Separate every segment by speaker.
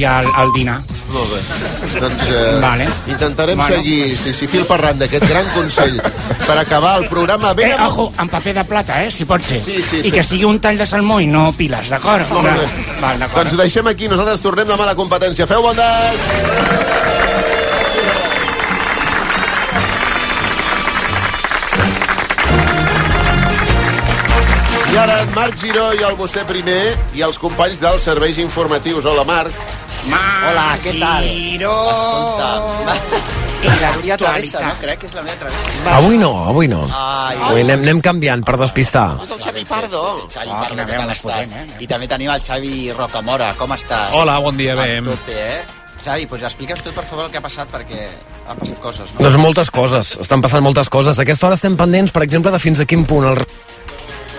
Speaker 1: i al, al dinar.
Speaker 2: Molt bé. Doncs eh,
Speaker 1: Vale.
Speaker 2: intentarem
Speaker 1: Bueno.
Speaker 2: seguir, si, si fil per randa, aquest gran consell per acabar el programa ben...
Speaker 1: Eh,
Speaker 2: amb-
Speaker 1: ojo, en paper de plata, eh, si pot ser.
Speaker 2: Sí, sí,
Speaker 1: I
Speaker 2: sí.
Speaker 1: que sigui un tall de salmó i no piles, d'acord?
Speaker 2: Molt bé.
Speaker 1: oh, Val, d'acord.
Speaker 2: Doncs ho deixem aquí, nosaltres tornem demà a la competència. Feu bondat! I ara en Marc Giró i el vostè primer i els companys dels serveis informatius. Hola, Marc.
Speaker 3: Hola, què tal?
Speaker 1: Giro.
Speaker 3: Escolta,
Speaker 1: I
Speaker 3: la Núria Travessa, no?
Speaker 1: l'actualitat.
Speaker 3: Crec que és la Núria Travessa.
Speaker 4: Avui no, avui no.
Speaker 3: Ai,
Speaker 4: Avui anem, anem canviant per despistar.
Speaker 3: és Doncs el Xavi Pardo. El Xavi
Speaker 1: Ah,
Speaker 3: Pardo,
Speaker 1: quina
Speaker 3: què
Speaker 1: veu
Speaker 3: tal
Speaker 1: més
Speaker 3: estàs?
Speaker 1: potent, eh?
Speaker 3: I també tenim el Xavi Rocamora. Com estàs?
Speaker 5: Hola, bon dia, bé.
Speaker 3: A tope, eh? Xavi, doncs explica'ns tu, per favor, el que ha passat, perquè han passat coses, no?
Speaker 4: Doncs moltes coses, estan passant moltes coses. A aquesta hora estem pendents, per exemple, de fins a quin punt el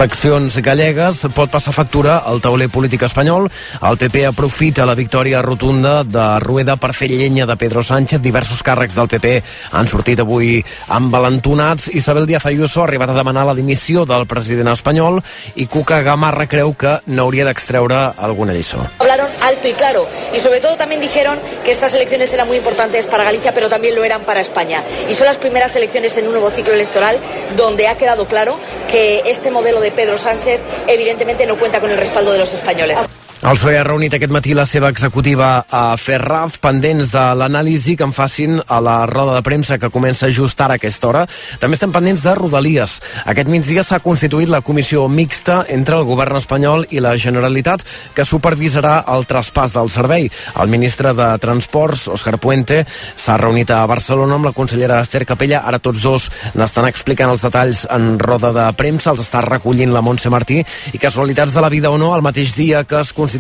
Speaker 4: eleccions gallegues pot passar factura al tauler polític espanyol. El PP aprofita la victòria rotunda de Rueda per fer llenya de Pedro Sánchez. Diversos càrrecs del PP han sortit avui envalentonats. Isabel Díaz Ayuso ha arribat a demanar la dimissió del president espanyol i Cuca Gamarra creu que n'hauria d'extreure alguna lliçó.
Speaker 6: Hablaron alto y claro y sobre todo también dijeron que estas elecciones eran muy importantes para Galicia, pero también lo eran para España. Y son las primeras elecciones en un nuevo ciclo electoral donde ha quedado claro que este modelo de Pedro Sánchez evidentemente no cuenta con el respaldo de los españoles.
Speaker 4: El PSOE ha reunit aquest matí la seva executiva a Ferraz, pendents de l'anàlisi que en facin a la roda de premsa que comença just ara a aquesta hora. També estem pendents de Rodalies. Aquest migdia s'ha constituït la comissió mixta entre el govern espanyol i la Generalitat que supervisarà el traspàs del servei. El ministre de Transports, Òscar Puente, s'ha reunit a Barcelona amb la consellera Esther Capella. Ara tots dos n'estan explicant els detalls en roda de premsa. Els està recollint la Montse Martí i casualitats de la vida o no, el mateix dia que es constitueix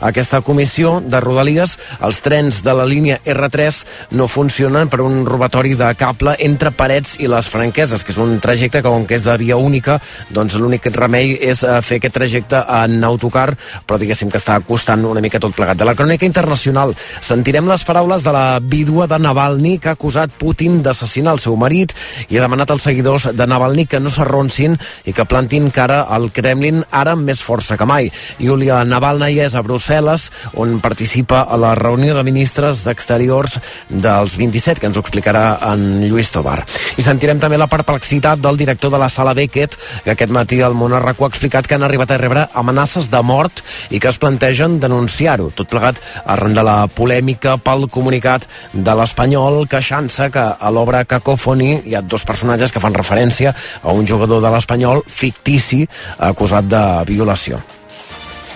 Speaker 4: aquesta comissió de Rodalies, els trens de la línia R3 no funcionen per un robatori de cable entre parets i les franqueses, que és un trajecte que, com que és de via única, doncs l'únic remei és eh, fer aquest trajecte en autocar, però diguéssim que està costant una mica tot plegat. De la crònica internacional sentirem les paraules de la vídua de Navalny, que ha acusat Putin d'assassinar el seu marit i ha demanat als seguidors de Navalny que no s'arronsin i que plantin cara al Kremlin ara amb més força que mai. Yulia Navalny és a Brussel·les, on participa a la reunió de ministres d'exteriors dels 27, que ens ho explicarà en Lluís Tobar. I sentirem també la perplexitat del director de la sala Beckett, que aquest matí el Monarraco ha explicat que han arribat a rebre amenaces de mort i que es plantegen denunciar-ho. Tot plegat arran de la polèmica pel comunicat de l'Espanyol queixant-se que a l'obra Cacòfoni hi ha dos personatges que fan referència a un jugador de l'Espanyol fictici acusat de violació.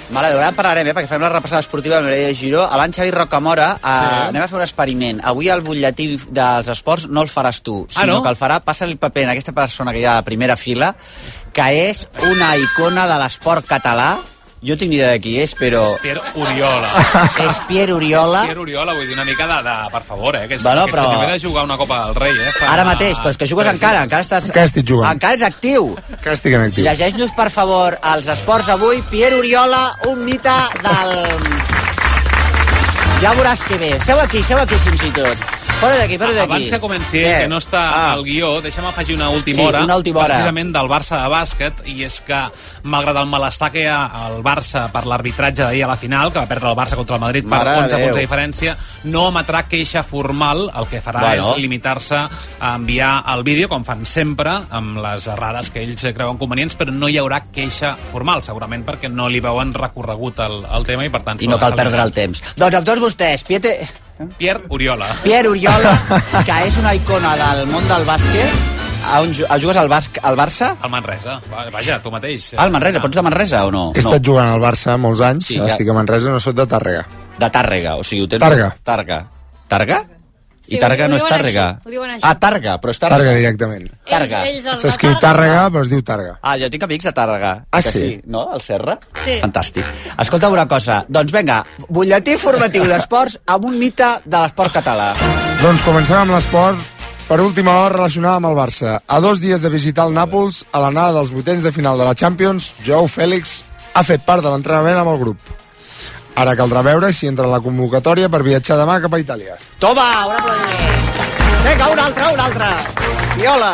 Speaker 3: Mare d'hora, en parlarem, eh, perquè farem la repassada esportiva amb Mireia Giró. Abans, Xavi Rocamora, eh, sí. anem a fer un experiment. Avui el butlletí dels esports no el faràs tu,
Speaker 5: Ah,
Speaker 3: sinó
Speaker 5: no?
Speaker 3: que el farà, passa el paper en aquesta persona que hi ha a la primera fila, que és una icona de l'esport català. Jo tinc ni idea de qui és, però
Speaker 5: Pierre Oriola.
Speaker 3: és Pierre Oriola.
Speaker 5: Pierre Oriola, vull dir una mica de, de per favor, eh? Que és,
Speaker 3: Bueno,
Speaker 5: que
Speaker 3: però-
Speaker 5: se de jugar una Copa del Rei, eh? Fa-
Speaker 3: Ara mateix, però és que jugues
Speaker 5: tres
Speaker 3: encara,
Speaker 5: dies.
Speaker 3: encara estàs...
Speaker 7: Encara estic jugant.
Speaker 3: Encara és actiu.
Speaker 7: Que estic en actiu.
Speaker 3: Llegeix-nos, per favor, els esports avui. Pierre Oriola, un mite del... Ja veuràs que bé. Seu aquí, seu aquí fins i tot. Posa't aquí, posa't aquí.
Speaker 5: Abans que comenci,
Speaker 3: Què?
Speaker 5: que no està
Speaker 3: Ah.
Speaker 5: al guió, deixa'm afegir una última
Speaker 3: Sí,
Speaker 5: hora,
Speaker 3: una última hora.
Speaker 5: precisament del Barça de bàsquet, i és que, malgrat el malestar que hi ha al Barça per l'arbitratge d'ahir a la final, que va perdre el Barça contra el Madrid per
Speaker 3: Mare de
Speaker 5: 11 punts
Speaker 3: Déu.
Speaker 5: de diferència, no emetrà queixa formal, el que farà
Speaker 3: Bueno.
Speaker 5: és limitar-se a enviar el vídeo, com fan sempre, amb les errades que ells creuen convenients, però no hi haurà queixa formal, segurament perquè no li veuen recorregut el, el tema i, per tant...
Speaker 3: I no cal perdre el temps. Doncs amb tots vostès, Piete...
Speaker 5: Pierre Oriola.
Speaker 3: Pierre Oriola, que és una icona del món del bàsquet, a on ju- a- jugues al, basc, al Barça? Ah,
Speaker 5: El Manresa. Va- Vaja, tu mateix.
Speaker 3: Al Manresa, pots de Manresa o no?
Speaker 7: He estat jugant al Barça molts anys,
Speaker 3: Sí,
Speaker 7: sí,
Speaker 3: ja.
Speaker 7: estic a Manresa, no sóc de Tàrrega.
Speaker 3: De Tàrrega, o sigui, ho tens...
Speaker 7: Tàrrega.
Speaker 3: Tàrrega. Tàrrega?
Speaker 8: Sí,
Speaker 3: I Tàrrega
Speaker 8: ho
Speaker 3: no és
Speaker 8: diuen
Speaker 3: Tàrrega.
Speaker 8: així, ho diuen així.
Speaker 3: Ah, Tàrrega, però és Tàrrega.
Speaker 7: Tàrrega directament.
Speaker 3: Tàrrega.
Speaker 8: Ells, ells,
Speaker 7: S'escriu Tàrrega, però es diu Tàrrega.
Speaker 3: Ah, jo tinc amics a Tàrrega.
Speaker 7: Ah,
Speaker 3: que
Speaker 7: sí?
Speaker 3: No? Al Serra?
Speaker 8: Sí.
Speaker 3: Fantàstic. Escolta una cosa. Doncs vinga, butlletí formatiu d'esports amb un mite de l'esport català.
Speaker 7: Doncs comencem amb l'esport. Per última hora, relacionada amb el Barça. A dos dies de visitar el Nàpols, a l'anada dels vuitens de final de la Champions, Joao Fèlix ha fet part de l'entrenament amb el grup. Ara caldrà veure si entra a la convocatòria per viatjar demà cap a Itàlia.
Speaker 3: Toma, un aplaudiment. Vinga, un altre, un altre. Viola.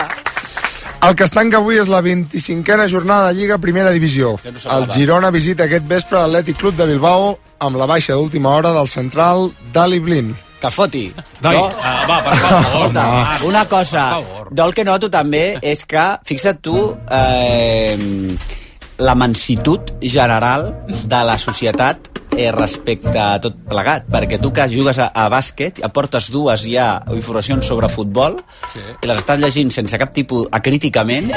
Speaker 7: El que es tanca avui és la 25a jornada de Lliga Primera Divisió. El Girona visita aquest vespre l'Atlètic Club de Bilbao amb la baixa d'última hora del central Dali Blin.
Speaker 3: Que foti.
Speaker 5: Noi, uh, va, per favor.
Speaker 3: Escolta,
Speaker 5: Marc,
Speaker 3: una
Speaker 5: Per
Speaker 3: cosa,
Speaker 5: favor.
Speaker 3: del que noto també és que, fixa't tu, eh, la mansitud general de la societat eh, respecte a tot plegat, perquè tu que jugues a, a bàsquet, aportes dues ja informacions sobre futbol sí. i les estàs llegint sense cap tipus acríticament,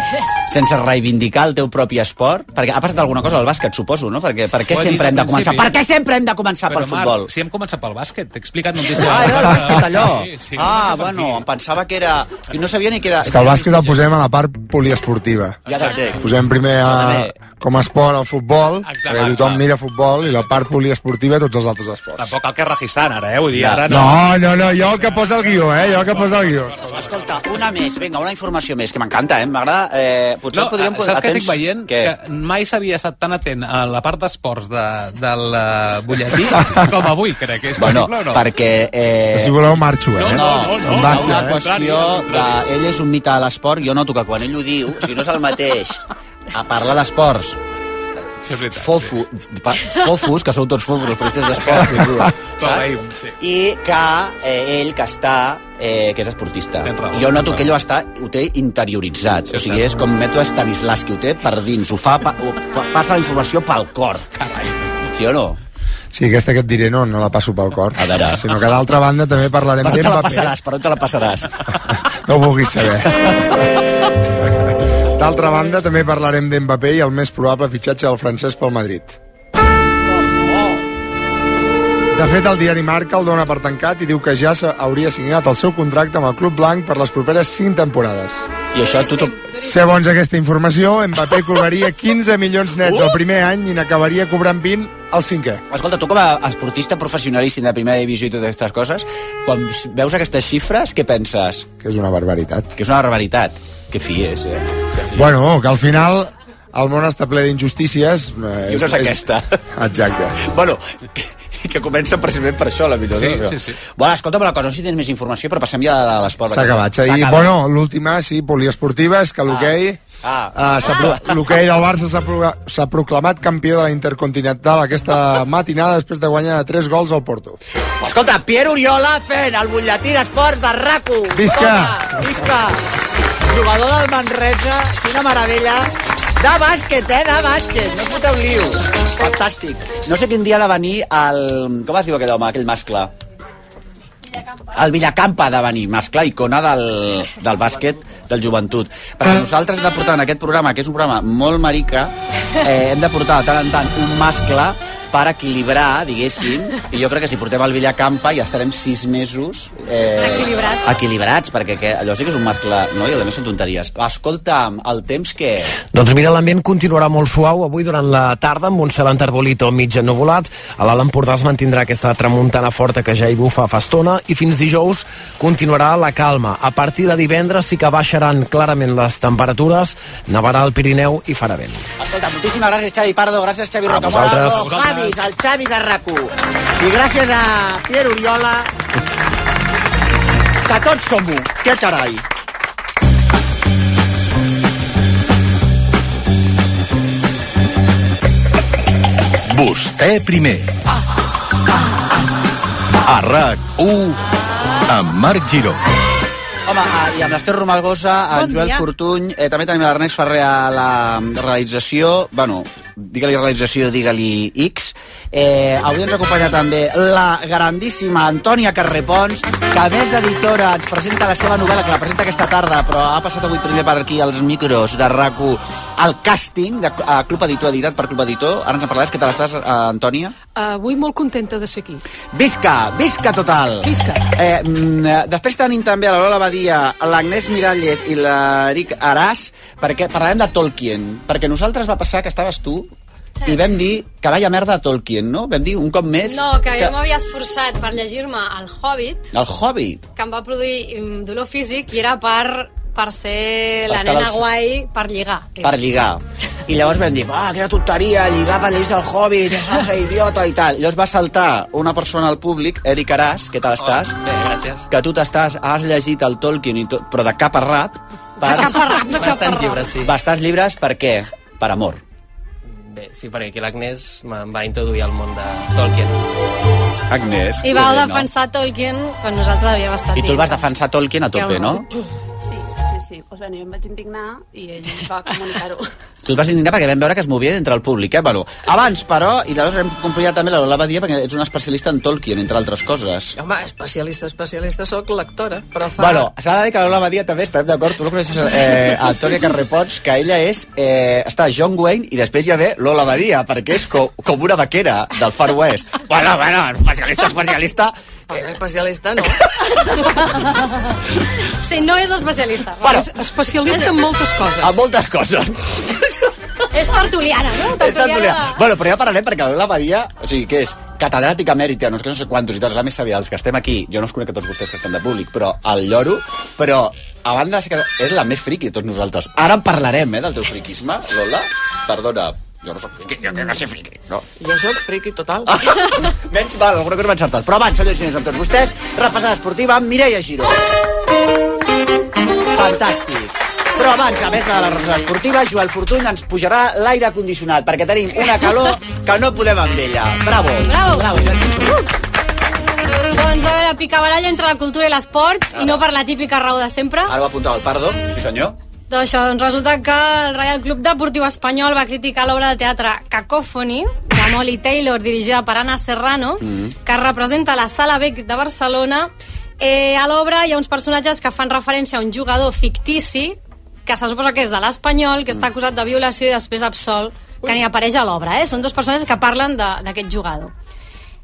Speaker 3: sense reivindicar el teu propi esport, perquè ha passat alguna cosa al bàsquet, suposo, no? Perquè per què
Speaker 5: Ho he dit
Speaker 3: sempre
Speaker 5: al
Speaker 3: hem de
Speaker 5: principi.
Speaker 3: començar? Per què sempre hem de començar
Speaker 5: Però,
Speaker 3: pel futbol?
Speaker 5: Marc, si hem començat pel bàsquet, t'he explicat notícies.
Speaker 3: Ah, era el
Speaker 5: del
Speaker 3: bàsquet, allò.
Speaker 5: Sí, sí, hem
Speaker 3: ah,
Speaker 5: començat per
Speaker 3: bueno,
Speaker 5: aquí.
Speaker 3: em pensava que era... I no sabia ni que era...
Speaker 7: És que el bàsquet el posem a la part poliesportiva.
Speaker 3: Ja t'entenc.
Speaker 7: Posem primer a, com a esport el futbol,
Speaker 5: Exacte.
Speaker 7: perquè tothom mira futbol, i la part poliesportiva tots els altres esports.
Speaker 5: Tampoc cal que registran ara, eh? Vull dir, ara no.
Speaker 7: No, no, no, jo el que posa el guió, eh? Jo el que posa el guió.
Speaker 3: Escolta, una més, vinga, una informació més, que m'encanta, eh? M'agrada... Eh, potser
Speaker 5: No,
Speaker 3: podríem...
Speaker 5: saps què
Speaker 3: atents-
Speaker 5: estic veient?
Speaker 3: Què?
Speaker 5: Que mai s'havia estat tan atent a la part d'esports de, del eh, butlletí com avui, crec. És
Speaker 3: Bueno,
Speaker 5: possible o no?
Speaker 3: perquè... Eh,
Speaker 7: Si voleu marxo, eh?
Speaker 5: No, no, no,
Speaker 3: hi ha
Speaker 7: Marxa,
Speaker 3: una
Speaker 7: eh?
Speaker 3: qüestió de... Ell és un mite de l'esport, jo noto que quan ell ho diu, si no és el mateix a parlar d'esports,
Speaker 5: Sí, és veritat,
Speaker 3: fofo, pa, fofos, que sou tots fofos, els projectes d'esports, i tu,
Speaker 5: Paveïm,
Speaker 3: saps?
Speaker 5: sí.
Speaker 3: I que eh, ell, que està, eh, que és esportista.
Speaker 5: Tens raó,
Speaker 3: Jo noto
Speaker 5: tens
Speaker 3: que ell ho, està, ho té interioritzat. o sigui, és com mètode Stanislavski, ho té per dins, ho fa, pa, ho, pa, passa la informació pel cor.
Speaker 5: Carai,
Speaker 3: Sí o no?
Speaker 7: Sí, aquesta que et diré no, no la passo pel cor.
Speaker 3: A veure.
Speaker 7: Sinó que d'altra banda també parlarem
Speaker 3: Per on te la
Speaker 7: d'Mbappé.
Speaker 3: passaràs? Per on te la passaràs?
Speaker 7: No ho vulguis saber. D'altra banda, també parlarem d'Mbappé i el més probable fitxatge del francès pel Madrid. De fet, el diari Marca el dona per tancat i diu que ja s'ha- hauria signat el seu contracte amb el Club Blanc per les properes 5 temporades.
Speaker 3: I això tu... tu...
Speaker 7: Segons aquesta informació, Mbappé cobraria 15 milions nets el primer any i n'acabaria cobrant 20 al cinquè.
Speaker 3: Escolta, tu com a esportista professionalíssim de primera divisió i totes aquestes coses, quan veus aquestes xifres, què penses?
Speaker 7: Que és una barbaritat.
Speaker 3: Que és una barbaritat. Que fi és, eh?
Speaker 7: Bueno, que al final el món està ple d'injustícies. eh,
Speaker 3: I una és aquesta.
Speaker 7: Exacte.
Speaker 3: Bueno, que, que comença precisament per això, la millor.
Speaker 5: Sí,
Speaker 3: no?
Speaker 5: sí, sí.
Speaker 3: Bueno, escolta'm una cosa, no sé si tens més informació, però passem ja a l'esport.
Speaker 7: S'ha acabat, s'ha acabat. Bueno, l'última, sí, poliesportiva, és que l'hoquei...
Speaker 3: Ah.
Speaker 7: eh, s'ha pro- L'hoquei del Barça s'ha pro- s'ha proclamat campió de la Intercontinental aquesta matinada després de guanyar 3 gols al Porto.
Speaker 3: Escolta, Pierre Oriola fent el butlletí d'esports de rac
Speaker 7: Visca!
Speaker 3: visca! Jugador del Manresa, quina meravella! De bàsquet, eh? De bàsquet, no foteu lius. Fantàstic. No sé quin dia ha de venir el... Com es diu aquell home, aquell mascle? El Villacampa ha de venir, mascle, icona del, del bàsquet del joventut. Perquè nosaltres hem de portar en aquest programa, que és un programa molt marica, eh, hem de portar de tant en tant un mascle per equilibrar, diguéssim, i jo crec que si portem el Villacampa ja estarem sis mesos... Eh,
Speaker 9: Equilibrats.
Speaker 3: Equilibrats, perquè que, allò sí que és un mascle, no? I a més són tonteries. Escolta, el temps que...
Speaker 4: Doncs mira, l'ambient continuarà molt suau avui durant la tarda amb un cel enterbolit o mig ennuvolat. A l'Alt Empordà es mantindrà aquesta tramuntana forta que ja hi bufa fa estona i fins dijous continuarà la calma. A partir de divendres sí que baixaran clarament les temperatures, nevarà al Pirineu i farà vent.
Speaker 3: Escolta, moltíssimes gràcies, Xavi Pardo, gràcies, Xavi Rocamora,
Speaker 4: vosaltres.
Speaker 3: el Javis, el Xavis a rac I gràcies a Pierre Oriola, que tots som-ho, que carai.
Speaker 2: Vostè primer. A RAC1 amb Marc Giró.
Speaker 3: Home, ah, i amb l'Ester Romalgosa, bon
Speaker 9: Bon
Speaker 3: en Joel
Speaker 9: dia.
Speaker 3: Fortuny, eh, també tenim l'Ernest Ferrer a la realització, bueno, digue-li realització, digue-li X. Eh, avui ens acompanya també la grandíssima Antònia Carrepons, que a més d'editora ens presenta la seva novel·la, que la presenta aquesta tarda, però ha passat avui primer per aquí als micros de rac el càsting de a Club Editor, editat per Club Editor. Ara ens en parlaràs, què tal estàs, eh, Antònia?
Speaker 9: Avui molt contenta de ser aquí.
Speaker 3: Visca, visca total.
Speaker 9: Visca.
Speaker 3: Eh, mm, eh, després tenim també a la Lola Badia, l'Agnès Miralles i l'Eric Aràs, perquè parlarem de Tolkien, perquè nosaltres va passar que estaves tu i vam dir que vaya merda de Tolkien, no? Vam dir un cop més...
Speaker 10: No, que jo m'havia esforçat per llegir-me El Hobbit,
Speaker 3: El Hobbit.
Speaker 10: que em va produir mm, dolor físic i era per, per ser la
Speaker 3: estar
Speaker 10: nena
Speaker 3: als-
Speaker 10: guai per lligar.
Speaker 3: per lligar. I llavors vam dir, ah, quina tonteria, lligar per l'eix del Hobbit, és una idiota i tal. Llavors va saltar una persona al públic, Eric Aràs, què tal estàs?
Speaker 5: Bé, gràcies.
Speaker 3: que tu t'estàs, has llegit el Tolkien, i tot, però de cap a rap, Per...
Speaker 11: caparrat, de Bastants caparrat. llibres, sí.
Speaker 3: Bastants llibres, per què? Per amor.
Speaker 11: Bé, sí, perquè aquí l'Agnès em va introduir al món de Tolkien.
Speaker 3: Agnès.
Speaker 10: I vau defensar Tolkien quan nosaltres havíem estat
Speaker 3: I tu el vas defensar Tolkien a tope, no?
Speaker 12: Sí, sí, sí. Pues, bueno, jo em vaig indignar i ell va comunicar-ho.
Speaker 3: Tu et vas indignar perquè vam veure que es movia entre el públic, eh? Bueno, abans, però, i llavors hem complicat també la Lola Badia perquè ets una especialista en Tolkien, entre altres coses.
Speaker 11: Home, especialista, especialista, sóc lectora, però fa...
Speaker 3: Bueno, s'ha de dir que la Lola Badia també estem d'acord, tu no coneixes eh, a Tònia Carrepons, que ella és, eh, està John Wayne i després ja ve Lola Badia, perquè és com, com una vaquera del Far West. bueno, bueno, especialista, especialista...
Speaker 11: Bueno, especialista no.
Speaker 10: Sí, no és especialista.
Speaker 3: Bueno.
Speaker 10: És especialista en moltes coses.
Speaker 3: A moltes coses.
Speaker 10: És tertuliana, no?
Speaker 3: Tertuliana. Bueno, però ja parlarem perquè la Lola Badia, o sigui, que és catedràtica emèrita, no sé, què, no sé quantos i tots, la més sabia dels que estem aquí, jo no us conec a tots vostès que estan de públic, però el lloro, però a banda de ser que és la més friqui de tots nosaltres. Ara en parlarem, eh, del teu friquisme, Lola. Perdona, jo no sóc friqui, jo que no sé friqui, no.
Speaker 11: Jo sóc friqui total.
Speaker 3: Menys mal, alguna cosa m'ha encertat. Però abans, senyors i senyors, amb tots vostès, repassada esportiva amb Mireia Giró. Fantàstic. Però abans, a més de la repassada esportiva, Joel Fortuny ens pujarà l'aire condicionat, perquè tenim una calor que no podem amb ella. Bravo.
Speaker 10: Bravo.
Speaker 3: Bravo, Joel Fortuny.
Speaker 10: Doncs a veure, picabaralla entre la cultura i l'esport, i no per la típica raó de sempre.
Speaker 3: Ara ho apuntava el Pardo, sí senyor.
Speaker 10: Doncs això, doncs resulta que el Real Club Deportiu Espanyol va criticar l'obra de teatre Cacòfoni, de Molly Taylor, dirigida per Anna Serrano,
Speaker 6: Mhm.
Speaker 10: que representa la Sala Bec de Barcelona. Eh, a l'obra hi ha uns personatges que fan referència a un jugador fictici, que se suposa que és de l'Espanyol, que està acusat de violació i després absol, que ni apareix a l'obra. Eh? Són dos personatges que parlen de- d'aquest jugador.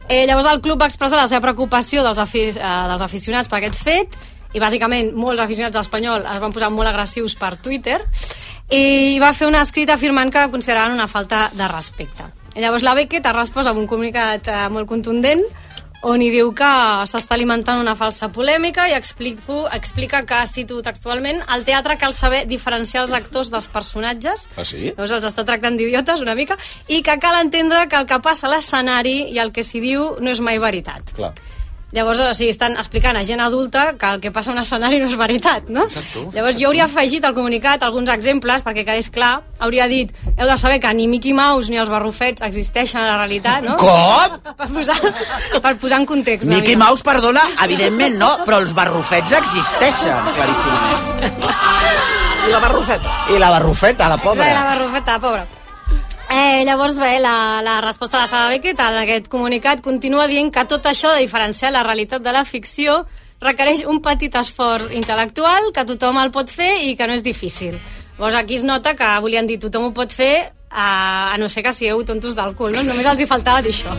Speaker 10: Eh, llavors el club va expressar la seva preocupació dels, afi eh, dels aficionats per aquest fet i bàsicament molts aficionats d'Espanyol es van posar molt agressius per Twitter i va fer una escrita afirmant que consideraven una falta de respecte. I llavors la Beckett ha respost amb un comunicat eh, molt contundent on hi diu que s'està alimentant una falsa polèmica i explico, explica que, cito textualment, al teatre cal saber diferenciar els actors dels personatges
Speaker 8: Ah, sí?
Speaker 10: Llavors els està tractant d'idiotes una mica i que cal entendre que el que passa a l'escenari i el que s'hi diu no és mai veritat.
Speaker 3: Clar.
Speaker 10: Llavors, o sigui, estan explicant a gent adulta que el que passa a un escenari no és veritat, no? Llavors jo hauria afegit al comunicat alguns exemples perquè quedés clar. Hauria dit, heu de saber que ni Mickey Mouse ni els barrufets existeixen a la realitat, no?
Speaker 3: Com?
Speaker 10: Per posar, per posar en context. Oh. una
Speaker 3: Mickey
Speaker 10: mica.
Speaker 3: Mouse, perdona, evidentment no, però els barrufets existeixen, claríssimament. I la barrufeta. I la barrufeta, la pobra.
Speaker 10: Ai, La barrufeta, pobra. Eh, llavors, bé, la, la resposta de la Sara Beckett en aquest comunicat continua dient que tot això de diferenciar la realitat de la ficció requereix un petit esforç intel·lectual que tothom el pot fer i que no és difícil. Llavors, aquí es nota que volien dir tothom ho pot fer eh, a, a no ser que sigueu tontos del cul, no? Només els hi faltava dir això.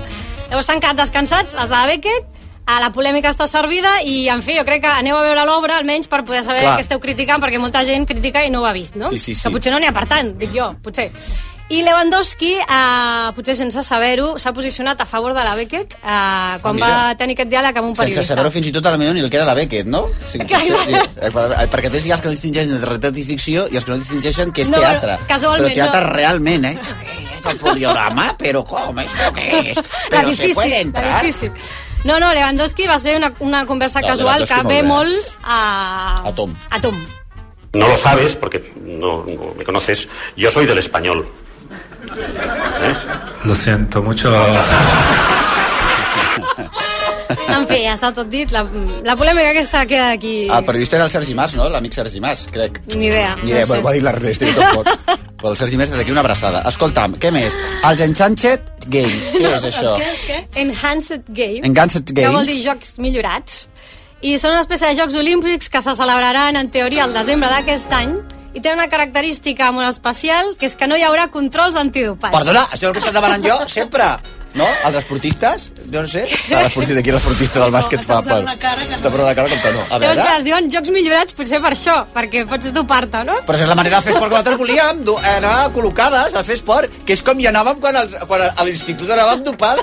Speaker 10: Llavors s'han quedat descansats, els de la Beckett, a la polèmica està servida i, en fi, jo crec que aneu a veure l'obra almenys per poder saber
Speaker 6: Clar.
Speaker 10: què esteu criticant, perquè molta gent critica i no ho ha vist, no?
Speaker 6: Sí, sí, sí.
Speaker 10: Que potser no n'hi ha per tant, dic jo, potser. I Lewandowski, eh, potser sense saber-ho, s'ha posicionat a favor de la Beckett eh, quan
Speaker 3: mira.
Speaker 10: va tenir aquest diàleg amb un
Speaker 3: Sense
Speaker 10: periodista.
Speaker 3: saber-ho fins i tot a la millor ni el que era la Beckett, no? O sigui,
Speaker 10: Clar.
Speaker 3: sí, eh, perquè a més hi ha els que no distingeixen entre realitat i ficció i els que no distingeixen que és
Speaker 10: No,
Speaker 3: teatre.
Speaker 10: casualment,
Speaker 3: però teatre
Speaker 10: no.
Speaker 3: realment, eh? És el poliorama, però com? Això què és? Eh,
Speaker 10: La
Speaker 3: Però se puede
Speaker 10: la
Speaker 3: entrar.
Speaker 10: difícil. No, no, Lewandowski va ser una, una conversa
Speaker 2: No,
Speaker 10: casual que
Speaker 2: Lewandowski
Speaker 10: ve
Speaker 2: molt
Speaker 10: molt a,
Speaker 2: A Tom.
Speaker 10: a Tom.
Speaker 2: No lo sabes porque no, no me conoces. Yo soy del español.
Speaker 5: Lo siento mucho.
Speaker 10: En fi, ja està tot dit. La, la polèmica aquesta queda aquí.
Speaker 3: Ah, El periodista era el Sergi Mas, no? L'amic Sergi Mas, crec.
Speaker 10: Ni idea.
Speaker 3: Ni idea,
Speaker 10: no ho sé.
Speaker 3: ho ha dit l'Ernest, ell tampoc. Però el Sergi Mas, des d'aquí una abraçada. Escolta'm, què més? Els Enchanched Games, què és això?
Speaker 10: Els què? Els què? Enhanced Games.
Speaker 3: Enhanced
Speaker 10: Que
Speaker 3: Games.
Speaker 10: vol dir jocs millorats. I són una espècie de jocs olímpics que se celebraran, en teoria, el desembre d'aquest any i té una característica molt especial, que és que no hi haurà controls antidopats.
Speaker 3: Perdona, això és el que estàs demanant jo sempre. No? Els esportistes? Jo no sé. Ah, L'esportista d'aquí, l'esportista del bàsquet fa...
Speaker 10: posant una cara que
Speaker 3: Està posant una cara com que no. A
Speaker 10: Llavors, clar,
Speaker 3: veure...
Speaker 10: es diuen jocs millorats potser per això, perquè pots dopar-te, no?
Speaker 3: Però si és la manera de fer esport que nosaltres volíem, du- anar col·locades a fer esport, que és com hi anàvem quan, els, quan a l'institut anàvem dopada.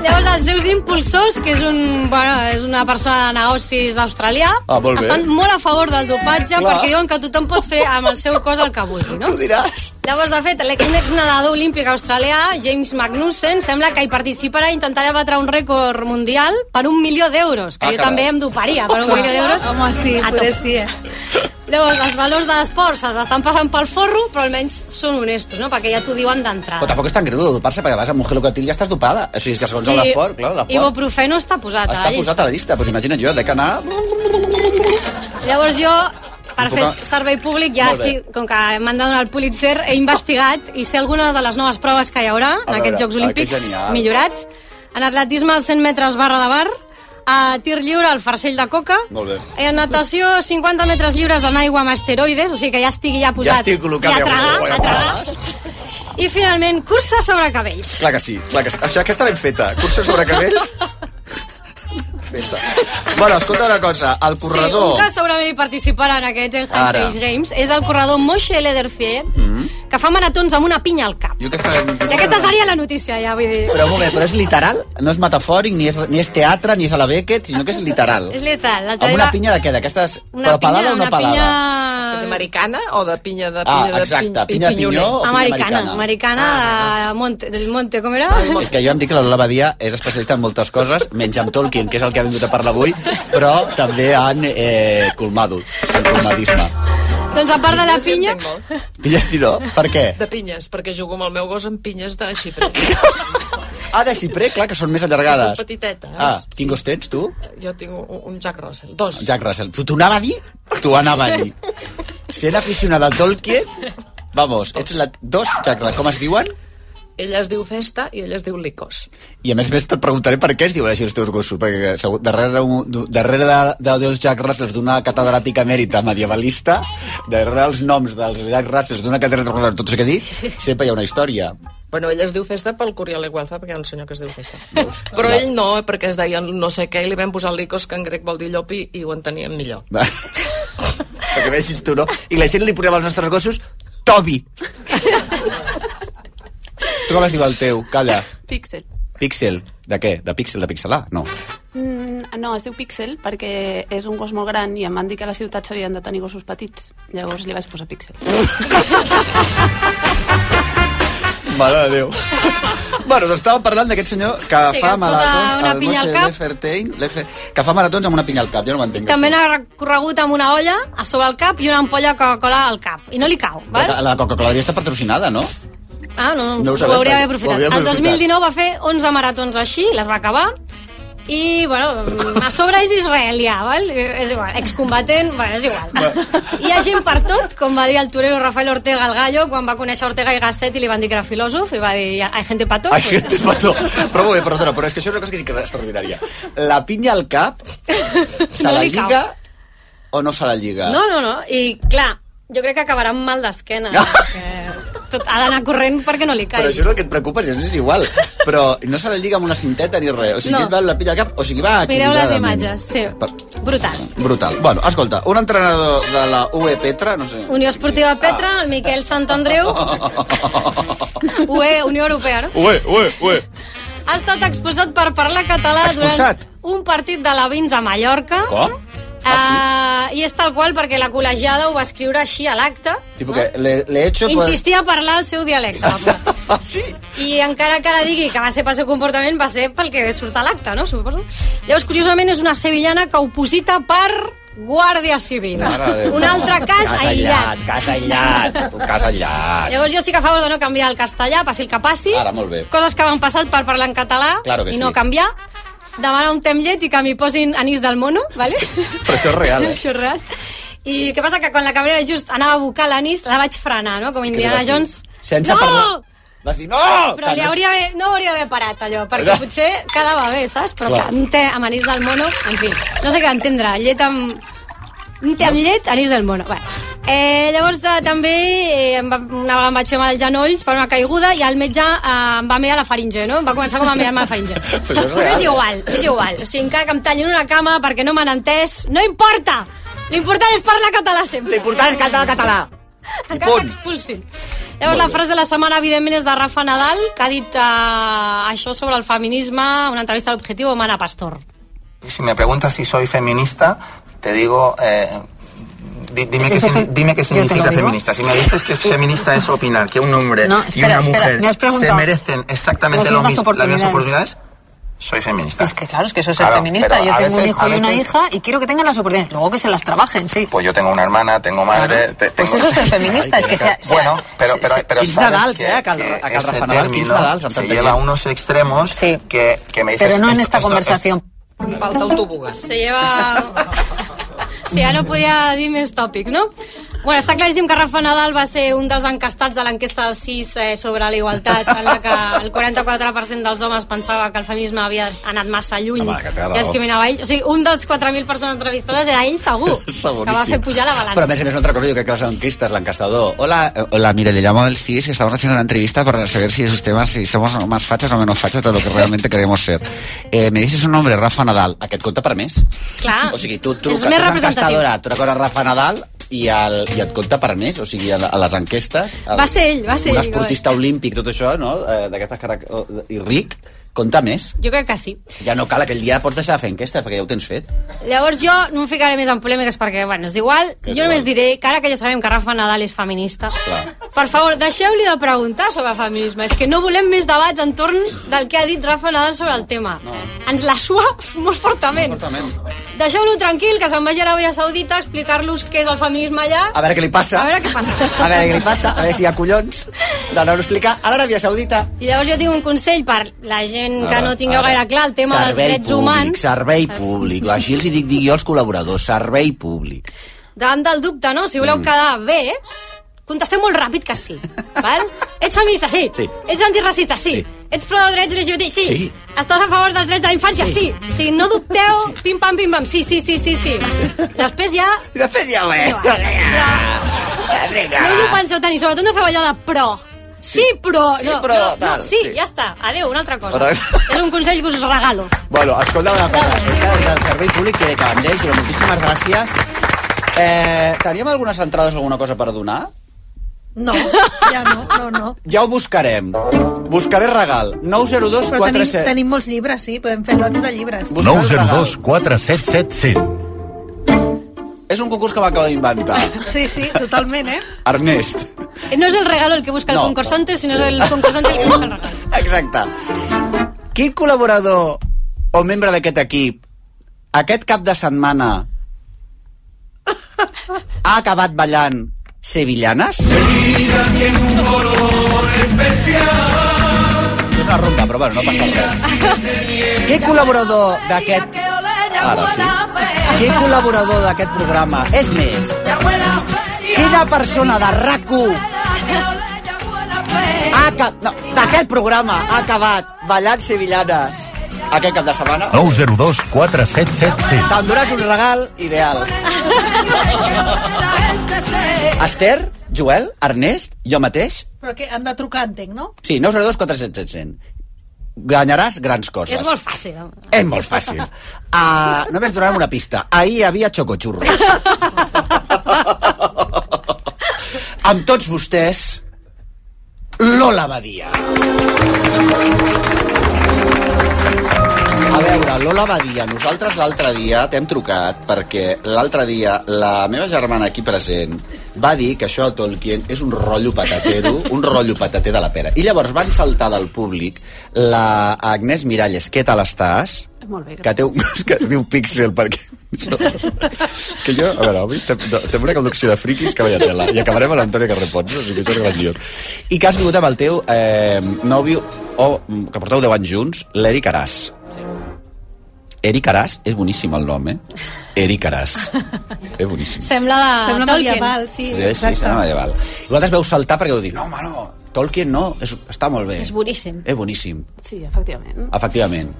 Speaker 10: Llavors, els seus impulsors, que és, un, bueno, és una persona de negocis australià,
Speaker 3: Ah, molt bé.
Speaker 10: estan molt a favor del dopatge
Speaker 3: Clar.
Speaker 10: perquè diuen que tothom pot fer amb el seu cos el que vulgui, no?
Speaker 3: Tu diràs.
Speaker 10: Llavors, de fet, l'ex nedador olímpic australià, James Magnussen, sembla que hi participarà i intentarà batre un rècord mundial per un milió d'euros, que
Speaker 11: Ah,
Speaker 10: jo
Speaker 11: carai.
Speaker 10: també em doparia per un milió d'euros.
Speaker 11: Home, sí,
Speaker 10: A top.
Speaker 11: poder sí, eh?
Speaker 10: Llavors, els valors de l'esport se'ls estan passant pel forro, però almenys són honestos, no? perquè ja t'ho diuen d'entrada.
Speaker 3: Però tampoc és tan greu de dopar-se, perquè vas amb un gelocatil i ja estàs dopada. O sigui, és que segons sí. l'esport, clar, l'esport
Speaker 10: Ibuprofeno està posat a
Speaker 3: està
Speaker 10: la llista.
Speaker 3: posat a la llista. Doncs imagina't jo, de que anar...
Speaker 10: Llavors jo, per
Speaker 3: Un
Speaker 10: fer
Speaker 3: poc-
Speaker 10: servei públic, ja
Speaker 3: Molt bé.
Speaker 10: estic, com que m'han de donar el Pulitzer, he investigat i sé alguna de les noves proves que hi haurà
Speaker 11: A
Speaker 10: en
Speaker 11: veure,
Speaker 10: aquests Jocs
Speaker 11: ah, que
Speaker 10: Olímpics
Speaker 11: genial.
Speaker 10: millorats. En atletisme, els 100 metres barra de bar, a tir lliure, el farcell de coca,
Speaker 3: Molt bé.
Speaker 10: en natació, 50 metres lliures en aigua amb asteroides, o sigui que ja estigui ja posat.
Speaker 3: Ja estic col·locat,
Speaker 10: I a
Speaker 3: ja,
Speaker 10: tragar,
Speaker 3: ja,
Speaker 10: a tragar. I finalment, cursa sobre cabells.
Speaker 3: Clar que sí, clar que sí. Això, aquesta ben feta. Cursos sobre cabells... feta. Bueno, escolta una cosa, el
Speaker 10: Sí,
Speaker 3: corredor...
Speaker 10: un que segurament hi participarà en aquests en
Speaker 3: Ara.
Speaker 10: Handshake Games és el corredor Moshe Lederfield,
Speaker 3: Mm.
Speaker 10: que fa maratons amb una pinya al cap.
Speaker 3: Jo aquesta...
Speaker 10: I aquesta seria la notícia, ja, vull dir...
Speaker 3: Però un moment, però és literal? No és metafòric, ni és, ni és teatre, ni és a la Beckett, sinó que és literal.
Speaker 10: És letal. L'altre
Speaker 3: Amb
Speaker 10: dia...
Speaker 3: una pinya de què? D'aquestes...
Speaker 10: Una
Speaker 3: Però pelada o
Speaker 10: pinya,
Speaker 3: no
Speaker 10: una
Speaker 3: pelada?
Speaker 8: Ah.
Speaker 10: pinya...
Speaker 11: Americana o de pinya de
Speaker 3: Ah,
Speaker 11: pinya de
Speaker 3: exacte,
Speaker 11: pin-
Speaker 3: pinya de pinyó
Speaker 11: pinyoner?
Speaker 3: o pinya Ah,
Speaker 10: Americana, americana de Monte, del Monte, com era?
Speaker 3: És que jo em dic que la Lola Badia és especialista en moltes coses, menys en Tolkien, que és el que ha vingut a parlar avui, però també en eh, colmado, en colmadisme.
Speaker 10: doncs a part de la
Speaker 11: Jo sí
Speaker 10: pinya...
Speaker 11: entenc molt.
Speaker 3: Pilla si no, per què?
Speaker 11: De pinyes, perquè jugo amb el meu gos amb pinyes de xipre.
Speaker 3: Ah, de xiprer, clar, que són més
Speaker 11: Són
Speaker 3: allargades.
Speaker 11: petitetes.
Speaker 3: Ah, quin gos tens, tu?
Speaker 11: Jo tinc un, un Jack Russell, dos.
Speaker 3: Jack Russell. T'ho anava a dir? T'ho anava a dir. Sent aficionada a Tolkien, vamos, ets la... Dos Jack Russell, com es diuen?
Speaker 11: Ella es diu Festa i ella es diu Licos.
Speaker 3: I a més a més et preguntaré per què es diuen així els teus gossos, perquè segur, darrere, un- du- darrere de, de, dels Jack Russells d'una catedràtica emèrita medievalista, darrere els noms dels Jack Russells d'una catedràtica, tot això que dic, sempre hi ha una història.
Speaker 11: Bueno, ella es diu Festa pel Curiel Igualfa, perquè hi ha un senyor que es diu Festa. Però ell no, perquè es deia no sé què, i li vam posar Licos, que en grec vol dir llop, i, i ho enteníem millor.
Speaker 3: Va. perquè vegis tu, no? I la gent li posava als nostres gossos Toby. tu com es diu el teu? Calla.
Speaker 12: Pixel.
Speaker 3: Pixel. De què? De pixel, de pixelar? No.
Speaker 12: Mm, no, es diu Pixel perquè és un gos molt gran i em van dir que a la ciutat s'havien de tenir gossos petits. Llavors li vaig posar Pixel.
Speaker 3: Mare de Déu. bueno, doncs estàvem parlant d'aquest senyor que
Speaker 10: Sí, que
Speaker 3: fa
Speaker 10: es posa
Speaker 3: maratons...
Speaker 10: una
Speaker 3: el
Speaker 10: pinya al
Speaker 3: Moshe
Speaker 10: cap.
Speaker 3: Lefertein, Lefer, que fa maratons amb una pinya al cap, jo no ho entenc.
Speaker 10: També n'ha corregut amb una olla a sobre el cap i una ampolla de Coca-Cola al cap. I no li cau,
Speaker 3: La,
Speaker 10: val?
Speaker 3: la Coca-Cola ja està patrocinada, no?
Speaker 10: Ah, no,
Speaker 3: No
Speaker 10: no
Speaker 3: ho
Speaker 10: ho,
Speaker 3: sabem,
Speaker 10: hauria d'haver
Speaker 3: perquè ho
Speaker 10: aprofitat.
Speaker 3: hauria
Speaker 10: El
Speaker 3: aprofitat.
Speaker 10: 2019 va fer 11 maratons així, les va acabar, i, bueno, a sobre és israelià, val? És igual, excombatent, bueno, és igual. Hi ha gent per tot, com va dir el torero Rafael Ortega al Gallo, quan va conèixer Ortega i Gasset i li van dir que era filòsof, i va dir, hay gente pa tot.
Speaker 3: Ai, gente, pató. Però molt bé, perdona, però és que això és una cosa que sí que és extraordinària. La pinya al cap se
Speaker 10: No
Speaker 3: la
Speaker 10: li cau.
Speaker 3: lliga o no se la lliga?
Speaker 10: No, no, no, i clar, jo crec que acabarà amb mal d'esquena. perquè Tot ha d'anar corrent perquè no li caigui.
Speaker 3: Ah. Però això és el que et preocupa, si no és igual. Però no se la lliga amb una cinteta ni res. O sigui,
Speaker 10: No.
Speaker 3: no. va la pinya al cap, o sigui, va
Speaker 10: Mireu les
Speaker 3: equilibradament.
Speaker 10: imatges, sí.
Speaker 3: Per-
Speaker 10: Brutal.
Speaker 3: Brutal. Bueno, escolta, un entrenador de la UE Petra, no sé... Ah,
Speaker 10: Unió Esportiva Petra, el Miquel Sant Andreu, UE, Unió Europea, no?
Speaker 3: Ué, ué, ué.
Speaker 10: Ha estat expulsat per parlar català
Speaker 3: Expulsat?
Speaker 10: durant un partit de la Vins a Mallorca.
Speaker 3: Com?
Speaker 10: Ah, I és tal qual perquè la col·legiada ho va escriure així a l'acte.
Speaker 3: Tipo que le, le he hecho... por-
Speaker 10: Insistia a parlar el seu dialecte. I encara que ara digui que va ser pel seu comportament, va ser pel que surt a l'acte, no? Suposo. Llavors, curiosament, és una sevillana que oposita per Guàrdia Civil.
Speaker 3: Mare de Déu.
Speaker 10: Un altre cas aïllat.
Speaker 3: Cas aïllat, un cas aïllat.
Speaker 10: Llavors jo estic a favor de no canviar el castellà, passi el que passi.
Speaker 3: Ara, molt bé.
Speaker 10: Coses que m'han passat per parlar en català
Speaker 3: Claro que
Speaker 10: i no
Speaker 3: sí.
Speaker 10: canviar. Demanar un temllet i que m'hi posin anís del mono, ¿vale?
Speaker 3: Però això és real, eh?
Speaker 10: Això és real. I què passa? Que quan la cabrera just anava a buscar l'anís, la vaig frenar, no? Com Indiana
Speaker 3: vas dir?
Speaker 10: Jones.
Speaker 3: Sense
Speaker 10: no!
Speaker 3: parlar- Vas dir, no!
Speaker 10: Però
Speaker 3: Que no
Speaker 10: li
Speaker 3: és-
Speaker 10: hauria, d'haver- no hauria d'haver parat, allò, perquè potser quedava bé, saps? Però
Speaker 3: Clar.
Speaker 10: clar, un te amb anís del mono, en fi, no sé què entendre. Llet amb... Un te amb llet, anís del mono. Bueno. Eh, llavors, eh, també, eh, em va, una vegada em vaig fer mal als genolls per una caiguda i el metge eh, em va mirar la faringe, no? Em va començar com a mirar-me la faringe.
Speaker 11: Però això és real,
Speaker 10: és
Speaker 11: eh?
Speaker 10: igual, és igual. O sigui, encara que em tallin una cama perquè no m'han entès, no importa! L'important és parlar català sempre.
Speaker 3: L'important és cantar en català.
Speaker 10: Encara
Speaker 3: punt.
Speaker 10: t'expulsin. Llavors, la frase de la setmana, evidentment, és de Rafa Nadal, que ha dit eh, això sobre el feminisme, una entrevista a l'Objectiu, amb Ana Pastor.
Speaker 13: Si me preguntas si soy feminista, te digo, eh, di- dime, qué
Speaker 6: Ese
Speaker 13: sin-
Speaker 6: fem-
Speaker 13: dime qué
Speaker 6: yo te lo
Speaker 13: significa
Speaker 6: digo.
Speaker 13: feminista. Si me dices que feminista es opinar que un hombre
Speaker 6: No,
Speaker 13: y
Speaker 6: espera, espera,
Speaker 13: una mujer
Speaker 6: me has
Speaker 13: se
Speaker 6: preguntado.
Speaker 13: merecen exactamente
Speaker 6: Las
Speaker 13: lo
Speaker 6: mismas
Speaker 13: mismo, las mismas
Speaker 6: oportunidades.
Speaker 13: oportunidades, soy feminista.
Speaker 6: Es que claro, es que eso es ser
Speaker 13: Claro,
Speaker 6: feminista.
Speaker 13: pero
Speaker 6: Yo
Speaker 13: a
Speaker 6: tengo un
Speaker 13: veces-
Speaker 6: hijo
Speaker 13: a
Speaker 6: y una
Speaker 13: veces-
Speaker 6: hija y quiero que tengan las oportunidades. Luego que se las trabajen, sí.
Speaker 13: Pues yo tengo una hermana, tengo madre. te-
Speaker 6: Pues
Speaker 13: tengo-
Speaker 6: eso es ser feminista, es que sea- sea-
Speaker 13: Bueno, pero, pero, pero
Speaker 3: Quins
Speaker 13: sabes
Speaker 3: Nadals,
Speaker 13: que-
Speaker 3: eh, a Cal-
Speaker 13: que
Speaker 3: a Cal
Speaker 13: ese
Speaker 3: Rafa Nadal,
Speaker 13: término
Speaker 3: quins Nadals, em
Speaker 13: Se
Speaker 3: faltaria.
Speaker 13: lleva a unos extremos que, que me dices.
Speaker 6: Pero no en
Speaker 13: esto-
Speaker 6: esta
Speaker 13: esto-
Speaker 6: conversación.
Speaker 14: Falta el tobogán.
Speaker 10: Se lleva... Si ja no podia dir més tòpics, no? Bueno, està claríssim que Rafa Nadal va ser un dels encastats de l'enquesta del 6 eh, sobre la igualtat, en la que el 44% dels homes pensava que el feminisme havia anat massa lluny
Speaker 3: Home, que té raó.
Speaker 10: i discriminava ells. O sigui, un dels 4.000 persones entrevistades era ell, segur, que va fer pujar la balança.
Speaker 3: Però a més a més una altra cosa, jo crec que va ser un Crister, l'encastador. Hola, eh, hola, mire, le llamo del CIS, que estamos haciendo una entrevista para saber si esos temas, si somos más fachas o menos fachas de lo que realmente queremos ser. Eh, me dices un nombre, Rafa Nadal. Aquest compta per més?
Speaker 10: Clar,
Speaker 3: O sigui, tu, tu,
Speaker 10: Ah, és
Speaker 3: tu
Speaker 10: més
Speaker 3: ets
Speaker 10: representatiu.
Speaker 3: encastadora, tu recorres Rafa Nadal i, el, i et compta per més, o sigui, a, la- a les enquestes... El,
Speaker 10: Va ser ell, va ser
Speaker 3: un
Speaker 10: ell,
Speaker 3: esportista olímpic, tot això, no?, Eh, d'aquestes caràcters... I ric, compta més.
Speaker 10: Jo crec que sí.
Speaker 3: Ja no cal, aquell dia pots deixar de fer enquestes, perquè ja ho tens fet.
Speaker 10: Llavors jo no em ficaré més en polèmiques perquè, bueno, és igual.
Speaker 3: Que és
Speaker 10: jo només
Speaker 3: igual.
Speaker 10: diré que ara que ja sabem que Rafa Nadal és feminista,
Speaker 3: Clar.
Speaker 10: per favor, deixeu-li de preguntar sobre feminisme. És que no volem més debats entorn del que ha dit Rafa Nadal sobre el tema. No. Ens la sua molt fortament. fortament. Deixeu-lo tranquil, que se'n vagi a Aràbia Saudita a explicar-los què és el feminisme allà.
Speaker 3: A veure què li passa.
Speaker 10: A veure què passa.
Speaker 3: A veure què li passa, a veure si hi ha collons d'anar-ho a explicar a l'Aràbia Saudita.
Speaker 10: I llavors jo tinc un consell per la gent que
Speaker 3: Ara,
Speaker 10: no tingueu
Speaker 3: ara.
Speaker 10: gaire clar el tema dels
Speaker 3: servei
Speaker 10: drets
Speaker 3: públic,
Speaker 10: humans.
Speaker 3: Servei públic, així els hi dic, dic jo als col·laboradors, servei públic.
Speaker 10: davant del dubte, no? Si voleu
Speaker 3: Mm.
Speaker 10: quedar bé, contesteu molt ràpid que sí, val? Ets feminista, sí.
Speaker 3: Sí.
Speaker 10: Ets antiracista, sí. Ets pro drets LGBT, sí.
Speaker 3: Sí.
Speaker 10: Estàs a favor dels drets de la infància, sí. sí. sí. no dubteu, pim-pam, pim-pam, sí, sí, sí, sí, sí. Després ja...
Speaker 3: I de fet ja ho és.
Speaker 10: eh, No us ho penseu tant, i sobretot no feu allò de pro. Sí, però...
Speaker 3: Sí,
Speaker 10: no,
Speaker 3: però,
Speaker 10: no, no,
Speaker 3: tal,
Speaker 10: sí,
Speaker 3: sí.
Speaker 10: ja està. Adéu, una altra cosa.
Speaker 3: Però-
Speaker 10: És un consell que us regalo.
Speaker 3: Bueno, escolta una cosa, és que des del servei públic que que Andreu, Giró, moltíssimes gràcies. Eh, teníem algunes entrades, alguna cosa per donar?
Speaker 15: No, ja no, no, no.
Speaker 3: Ja ho buscarem. Buscaré regal. 902
Speaker 15: Però tenim,
Speaker 3: 47...
Speaker 15: tenim molts llibres, sí, podem fer lots de llibres.
Speaker 2: 902 477 100.
Speaker 3: És un concurs que m'acabo d'inventar.
Speaker 15: Sí, sí, totalment, eh?
Speaker 3: Ernest.
Speaker 10: No és el regalo el que busca el
Speaker 3: No.
Speaker 10: concursante, sinó és el concursante el que busca el regalo.
Speaker 3: Exacte. Quin col·laborador o membre d'aquest equip aquest cap de setmana ha acabat ballant sevillanes? És una ronca, però bueno, no passa res. Què col·laborador d'aquest... Ara sí. Què col·laborador d'aquest programa? És més, quina persona de RAC1 ha ca- Ah, no, d'aquest programa ha acabat ballant sevillanes aquest cap de setmana?
Speaker 2: 902 477 100.
Speaker 3: T'enduràs un regal ideal. Esther, Joel, Ernest, jo mateix...
Speaker 15: Però que han de trucar, entenc, no?
Speaker 3: Sí, 902 400 700. Guanyaràs grans coses.
Speaker 15: És molt fàcil. Home.
Speaker 3: És molt fàcil. Uh, només donarem una pista. Ahir hi havia xocochurros. Amb tots vostès, Lola Badia. A veure, Lola Badia, nosaltres l'altre dia t'hem trucat perquè l'altre dia la meva germana aquí present va dir que això de Tolkien és un rotllo patatero, un rotllo patater de la pera. I llavors van saltar del públic la Agnès Miralles, què tal estàs?
Speaker 12: Molt bé,
Speaker 3: que té un, que es diu Pixel perquè és que jo, a veure, avui tem- no, tenim una col·lecció de friquis que veia tela i acabarem amb l'Antònia Carrepons, o sigui que això és grandiós i que has vingut amb el teu eh, nòvio o mm, que porteu 10 anys junts l'Eric Aràs Eric Aràs és boníssim el nom, eh? Eric Aràs. És boníssim.
Speaker 10: Sembla de
Speaker 15: Sembla
Speaker 10: Tolkien.
Speaker 15: medieval, sí,
Speaker 3: sí, sí, serà medieval. I vosaltres veu saltar perquè vau dir, no, home, no, Tolkien no, és, està molt bé.
Speaker 15: És boníssim.
Speaker 3: És boníssim.
Speaker 12: Sí, efectivament.
Speaker 3: Efectivament.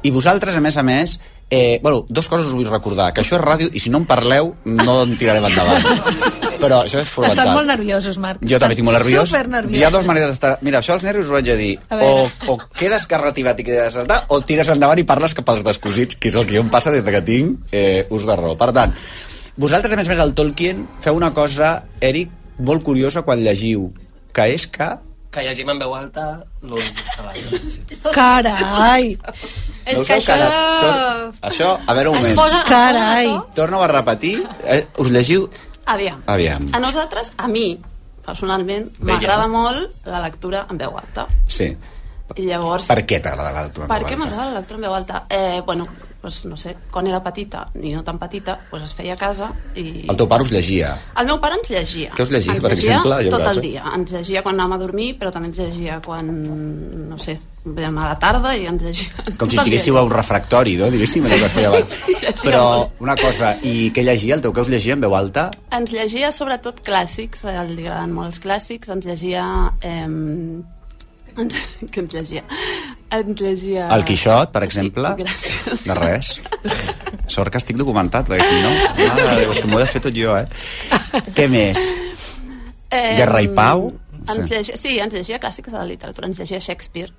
Speaker 3: I vosaltres, a més a més, eh, bueno, dos coses us vull recordar, que això és ràdio i si no en parleu no en tirarem endavant. Però això és fonamental.
Speaker 15: Estan molt nerviosos, Marc.
Speaker 3: Jo també estic molt nerviós.
Speaker 15: Supernerviosos.
Speaker 3: Hi ha dues maneres d'estar... Mira, això els nervis ho vaig a dir.
Speaker 15: A
Speaker 3: o,
Speaker 15: veure.
Speaker 3: o quedes carretivat i quedes a saltar, o tires endavant i parles cap als descosits, que és el que jo em passa des de que tinc eh, ús de raó. Per tant, vosaltres, a més a més, el Tolkien, feu una cosa, Eric, molt curiosa quan llegiu, que és que...
Speaker 16: Que llegim en veu alta l'un davant. Sí.
Speaker 15: Carai!
Speaker 10: És
Speaker 3: no
Speaker 10: que
Speaker 3: us feu
Speaker 10: això...
Speaker 3: cares? Tor- Això, a veure un
Speaker 10: Es
Speaker 3: moment.
Speaker 10: posa- es posa Carai.
Speaker 3: Torna-ho a repetir, eh, us llegiu
Speaker 12: Aviam.
Speaker 3: Aviam.
Speaker 12: A nosaltres, a mi, personalment,
Speaker 3: Veia.
Speaker 12: m'agrada molt la lectura en veu alta.
Speaker 3: Sí.
Speaker 12: I llavors...
Speaker 3: Per què t'agrada la lectura?
Speaker 12: Per què m'agrada la lectura en veu alta? Eh, bueno, doncs, no sé, quan era petita, i no tan petita, doncs es feia a casa i...
Speaker 3: El teu pare us llegia.
Speaker 12: El meu pare ens llegia.
Speaker 3: Què us llegia,
Speaker 12: Ens
Speaker 3: per exemple? Jo
Speaker 12: tot
Speaker 3: veus,
Speaker 12: el
Speaker 3: eh?
Speaker 12: dia. Ens llegia quan anàvem a dormir, però també ens llegia quan, no sé, vèiem a la tarda i ens llegia...
Speaker 3: Com si
Speaker 12: tot el dia.
Speaker 3: estiguéssiu a un refractori, no? diguéssim, allò que es feia abans. Però una cosa, i què llegia? El teu que us llegia en veu alta?
Speaker 12: Ens llegia sobretot clàssics, a ell li agraden molt els clàssics, ens llegia... Eh, ens, que ens llegia? Ens llegia...
Speaker 3: El Quixot, per exemple?
Speaker 12: Ah, Sí, gràcies.
Speaker 3: De res. Sort que estic documentat, perquè si no... Mare de Déu, és que m'ho he de fer tot jo, eh? Què més?
Speaker 12: Eh,
Speaker 3: Guerra i Pau?
Speaker 12: Ens
Speaker 3: Sí.
Speaker 12: llegia, sí, ens llegia clàssics de la literatura, ens llegia Shakespeare.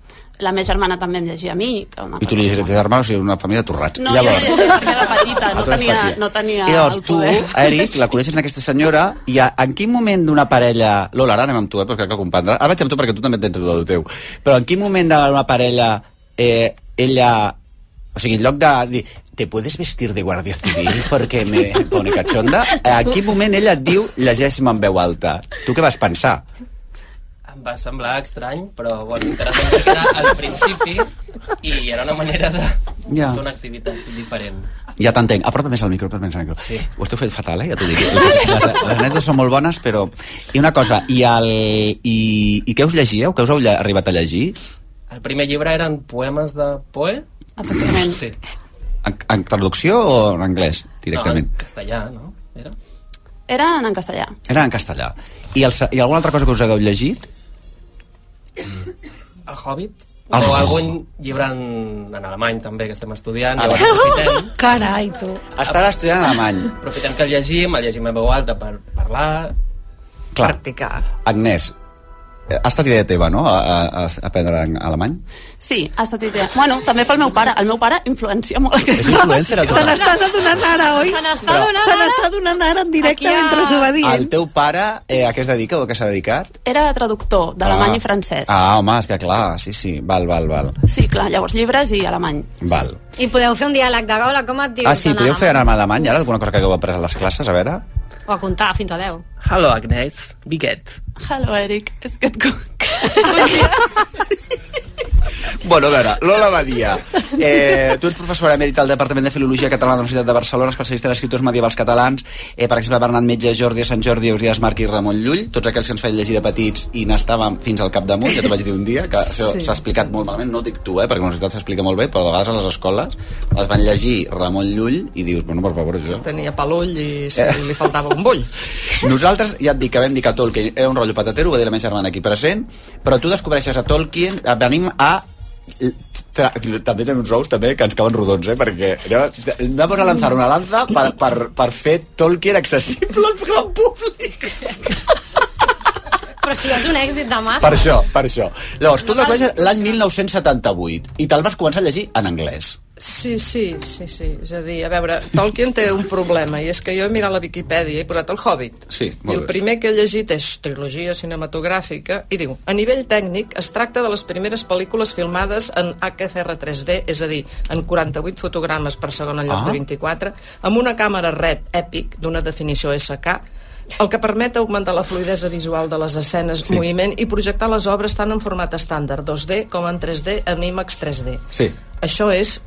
Speaker 12: La meva germana també em llegia a mi. Que una
Speaker 3: I tu li llegies a tes germans, o sigui, una família de torrats.
Speaker 12: No, Llavors, jo llegia perquè era petita,
Speaker 3: Ah,
Speaker 12: no
Speaker 3: tu eres
Speaker 12: tenia,
Speaker 3: petita.
Speaker 12: no tenia
Speaker 3: I llavors
Speaker 12: el
Speaker 3: tu, eh,
Speaker 12: poder.
Speaker 3: Eris, la coneixes aquesta senyora i a, en quin moment d'una parella... Lola, ara anem amb tu, eh, però crec que ho comprendrà. Ara vaig amb tu perquè tu també tens el teu. Però en quin moment d'una parella eh, ella... O sigui, en lloc de dir te puedes vestir de guàrdia civil perquè me pone cachonda, en quin moment ella et diu llegeix-me en veu alta? Tu què vas pensar?
Speaker 16: Em va semblar estrany, però bueno, interessant perquè era al principi i era una manera de
Speaker 3: Ja.
Speaker 16: fer una activitat diferent.
Speaker 3: Ja t'entenc. Apropa més al micro, apropa més al micro. Sí. Ho esteu fet fatal, eh? Ja t'ho dic. Les, les, les anècdotes són molt bones, però... I una cosa, i, el, i, i què us llegíeu? Què us heu lle- arribat a llegir?
Speaker 16: El primer llibre eren poemes de Poe.
Speaker 12: Efectivament.
Speaker 16: Sí.
Speaker 3: En, en traducció o en anglès, directament?
Speaker 16: No, en castellà, no? Era?
Speaker 12: Era en castellà.
Speaker 3: No. Era en castellà. I, el, se- I alguna altra cosa que us hagueu llegit?
Speaker 16: El Hobbit?
Speaker 3: El
Speaker 16: O
Speaker 3: Hobbit.
Speaker 16: algun llibre en, en alemany, també, que estem estudiant.
Speaker 3: Ah,
Speaker 16: Llavors,
Speaker 3: bé.
Speaker 16: aprofitem,
Speaker 15: Carai, tu.
Speaker 3: Estarà estudiant alemany.
Speaker 16: aprofitem que el llegim, el llegim en veu alta per parlar...
Speaker 3: Clar.
Speaker 16: Practicar.
Speaker 3: Agnès, eh, ha estat idea teva, no?, a, a, a aprendre en alemany?
Speaker 12: Sí, ha estat idea. Bueno, també pel meu pare. El meu pare influencia molt aquesta...
Speaker 3: És influencer, el teu
Speaker 15: Te
Speaker 3: pare.
Speaker 15: n'estàs adonant ara, oi?
Speaker 12: Se n'està
Speaker 3: Però-
Speaker 12: adonant
Speaker 15: Se n'està adonant ara en directe
Speaker 12: Aquí
Speaker 15: ha...
Speaker 12: ha-
Speaker 15: mentre s'ho va
Speaker 3: El
Speaker 15: dient.
Speaker 3: teu pare, eh, a què es dedica o a què s'ha dedicat?
Speaker 12: Era traductor d'alemany i francès.
Speaker 3: Ah, home, és que clar, sí, sí, val, val, val.
Speaker 12: Sí, clar, llavors llibres i alemany.
Speaker 3: Val.
Speaker 10: I podeu fer un diàleg de gola, com et dius?
Speaker 3: Ah, sí,
Speaker 10: dona?
Speaker 3: podeu fer ara en alemany, ara alguna cosa que hagueu après a les classes, a veure?
Speaker 10: O a comptar fins a 10.
Speaker 16: Hello, Agnès. Biguet.
Speaker 12: Hello, Eric. És que et conec.
Speaker 3: Bueno, a veure, Lola Badia, eh, tu ets professora emèrita al Departament de Filologia Catalana de la Universitat de Barcelona, especialista en escriptors medievals catalans, eh, per exemple, Bernat Metge, Jordi Sant Jordi, Eusias Marc i Ramon Llull, tots aquells que ens feien llegir de petits i n'estàvem fins al capdamunt, ja t'ho vaig dir un dia, que això
Speaker 6: Sí,
Speaker 3: s'ha explicat molt malament, no ho dic tu, eh, perquè a la universitat s'explica molt bé, però a vegades a les escoles les van llegir Ramon Llull i dius, bueno, per favor, això...
Speaker 11: Tenia pelull i sí, li faltava un bull.
Speaker 3: Nosaltres, ja et dic que vam dir que Tolkien era un rotllo patatero, ho va dir la meva germana aquí present, però tu descobreixes a Tolkien, eh, venim a Tra- també tenim uns ous també que ens cauen rodons, eh? perquè anem a, anem a lançar una lanza per, per, per fer Tolkien accessible al gran públic.
Speaker 10: Però si és un èxit de massa.
Speaker 3: Per això, per això. Llavors, tu t'acueixes l'any 1978 i te'l vas començar a llegir en anglès.
Speaker 11: Sí, sí, sí, sí. És a dir, a veure, Tolkien té un problema, i és que jo he mirat la Viquipèdia i he posat el Hobbit.
Speaker 3: Sí,
Speaker 11: I el primer que he llegit és trilogia cinematogràfica i diu, a nivell tècnic es tracta de les primeres pel·lícules filmades en HFR3D, és a dir, en 48 fotogrames per segon en lloc
Speaker 17: Ah.
Speaker 11: de 24, amb una càmera red èpic d'una definició SK, el que permet augmentar la fluidesa visual de les escenes,
Speaker 17: Sí.
Speaker 11: moviment i projectar les obres tant en format estàndard 2D com en 3D en IMAX 3D.
Speaker 3: Sí.
Speaker 11: Això és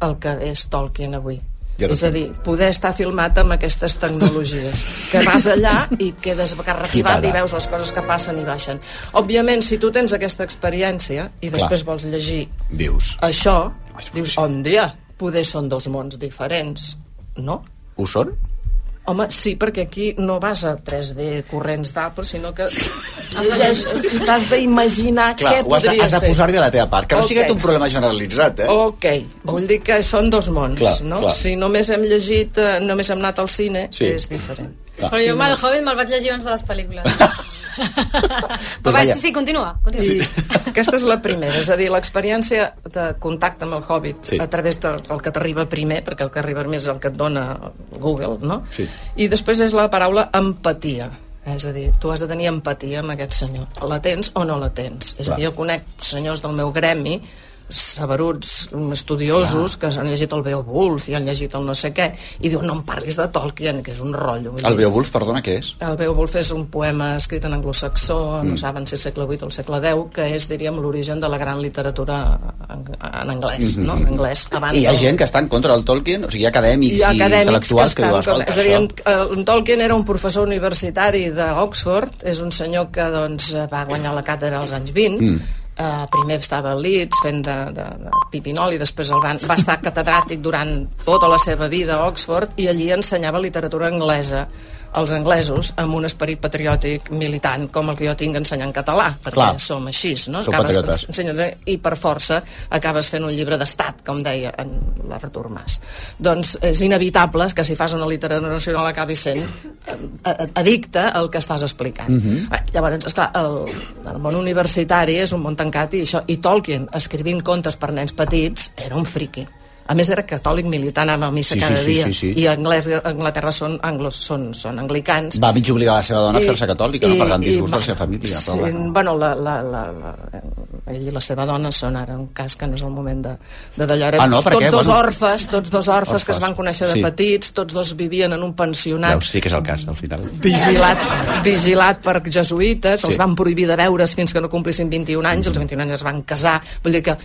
Speaker 11: el que és Tolkien avui.
Speaker 3: Ja
Speaker 11: Ja
Speaker 3: ho
Speaker 11: és a
Speaker 3: sé.
Speaker 11: dir, poder estar filmat amb aquestes tecnologies. Que vas allà i quedes carrefibat
Speaker 3: Flipada.
Speaker 11: i veus les coses que passen i baixen. Òbviament, si tu tens aquesta experiència i
Speaker 3: Clar.
Speaker 11: després vols llegir
Speaker 3: Dius,
Speaker 11: això, dius, on dia, poder són dos mons diferents, no?
Speaker 3: ho són?
Speaker 11: Home, sí, perquè aquí no vas a 3D corrents d'Apple, sinó que llegeixes i t'has d'imaginar
Speaker 3: Clar, ho
Speaker 11: què
Speaker 3: has de,
Speaker 11: podria
Speaker 3: has de
Speaker 11: ser.
Speaker 3: posar-hi de la teva part, que no
Speaker 11: Ok. Oh.
Speaker 3: sigui un problema generalitzat, eh?
Speaker 11: Ok, vull dir que són dos mons,
Speaker 3: Clar,
Speaker 11: no?
Speaker 3: clar.
Speaker 11: Si només hem llegit, eh, només hem anat al cine,
Speaker 3: Sí.
Speaker 11: és diferent.
Speaker 3: Clar.
Speaker 10: Però jo amb el
Speaker 11: Llavors-
Speaker 10: Hobbit me'l vaig llegir abans de les pel·lícules.
Speaker 3: Doncs
Speaker 10: Però va,
Speaker 11: vaja.
Speaker 10: sí, sí, continua. continua.
Speaker 11: I aquesta és la primera, és a dir, l'experiència de contacte amb el Hobbit
Speaker 17: Sí.
Speaker 11: sí. a través del el que t'arriba primer, perquè el que arriba més és el que et dona Google, no?
Speaker 17: Sí.
Speaker 11: I després és la paraula empatia. eh? És a dir, tu has de tenir empatia amb aquest senyor. La tens o no la tens? És
Speaker 17: Clar.
Speaker 11: a dir, jo conec senyors del meu gremi saberuts mm, estudiosos que han llegit el Beowulf i han llegit el no sé què i diuen no em parlis de Tolkien, que és un rotllo. vull
Speaker 3: El
Speaker 11: dir,
Speaker 3: Beowulf, perdona, què és?
Speaker 11: El Beowulf és un poema escrit en anglosaxó, mm.
Speaker 3: Mm.
Speaker 11: no saben si segle VIII o el segle X, que és, diríem, l'origen de la gran literatura en, en anglès,
Speaker 3: Mhm.
Speaker 11: no? En anglès, abans
Speaker 3: I hi ha
Speaker 11: del-
Speaker 3: gent que està en contra del Tolkien, o sigui, hi ha acadèmics i,
Speaker 11: hi ha acadèmics que
Speaker 3: intel·lectuals que,
Speaker 11: estan...
Speaker 3: diuen,
Speaker 11: Que
Speaker 3: escolta,
Speaker 11: és a dir, en, en Tolkien era un professor universitari d'Oxford, és un senyor que doncs, va guanyar la càtedra als anys 20,
Speaker 3: Mm.
Speaker 11: Uh, primer estava a Leeds fent de, de, de Pipinol i després el van, va estar catedràtic durant tota la seva vida a Oxford i allí ensenyava literatura anglesa als anglesos amb un esperit patriòtic militant com el que jo tinc ensenyant català perquè
Speaker 3: Clar.
Speaker 11: som així, no?
Speaker 3: Sou patriotes.
Speaker 11: ensenyant, i per força acabes fent un llibre d'estat com deia en l'Artur Mas doncs és inevitable que si fas una literatura nacional acabis sent eh, eh, addicte al que estàs explicant
Speaker 6: Mhm.
Speaker 11: Eh, Llavors, esclar, el, el món universitari és un món tancat i, això, i Tolkien, escrivint contes per nens petits, era un friqui. A més, era catòlic militant, anava a missa
Speaker 3: Sí, sí,
Speaker 11: cada
Speaker 3: sí,
Speaker 11: dia.
Speaker 3: sí, sí.
Speaker 11: I anglès, Anglaterra són, anglos, són, són anglicans.
Speaker 3: Va mig obligar la seva dona
Speaker 11: I-
Speaker 3: a fer-se catòlica,
Speaker 11: i-
Speaker 3: no per gran
Speaker 11: i
Speaker 3: disgust de
Speaker 11: va-
Speaker 3: la seva família.
Speaker 11: Sí,
Speaker 3: Però bueno.
Speaker 11: bueno, la, la, la, la, ell i la seva dona són ara un cas que no és el moment de, de d'allò. Eren
Speaker 3: Ah, no? Per
Speaker 11: tots
Speaker 3: què?
Speaker 11: dos
Speaker 3: Bueno.
Speaker 11: orfes, tots dos orfes, que es
Speaker 3: Orfes.
Speaker 11: van conèixer de
Speaker 3: Sí.
Speaker 11: petits, tots dos vivien en un pensionat
Speaker 3: Veus, sí que és el cas, al final.
Speaker 11: vigilat, vigilat per jesuïtes,
Speaker 3: Sí.
Speaker 11: sí. els van prohibir de veure's fins que no complissin 21 anys, els 21 anys es van casar, vull dir que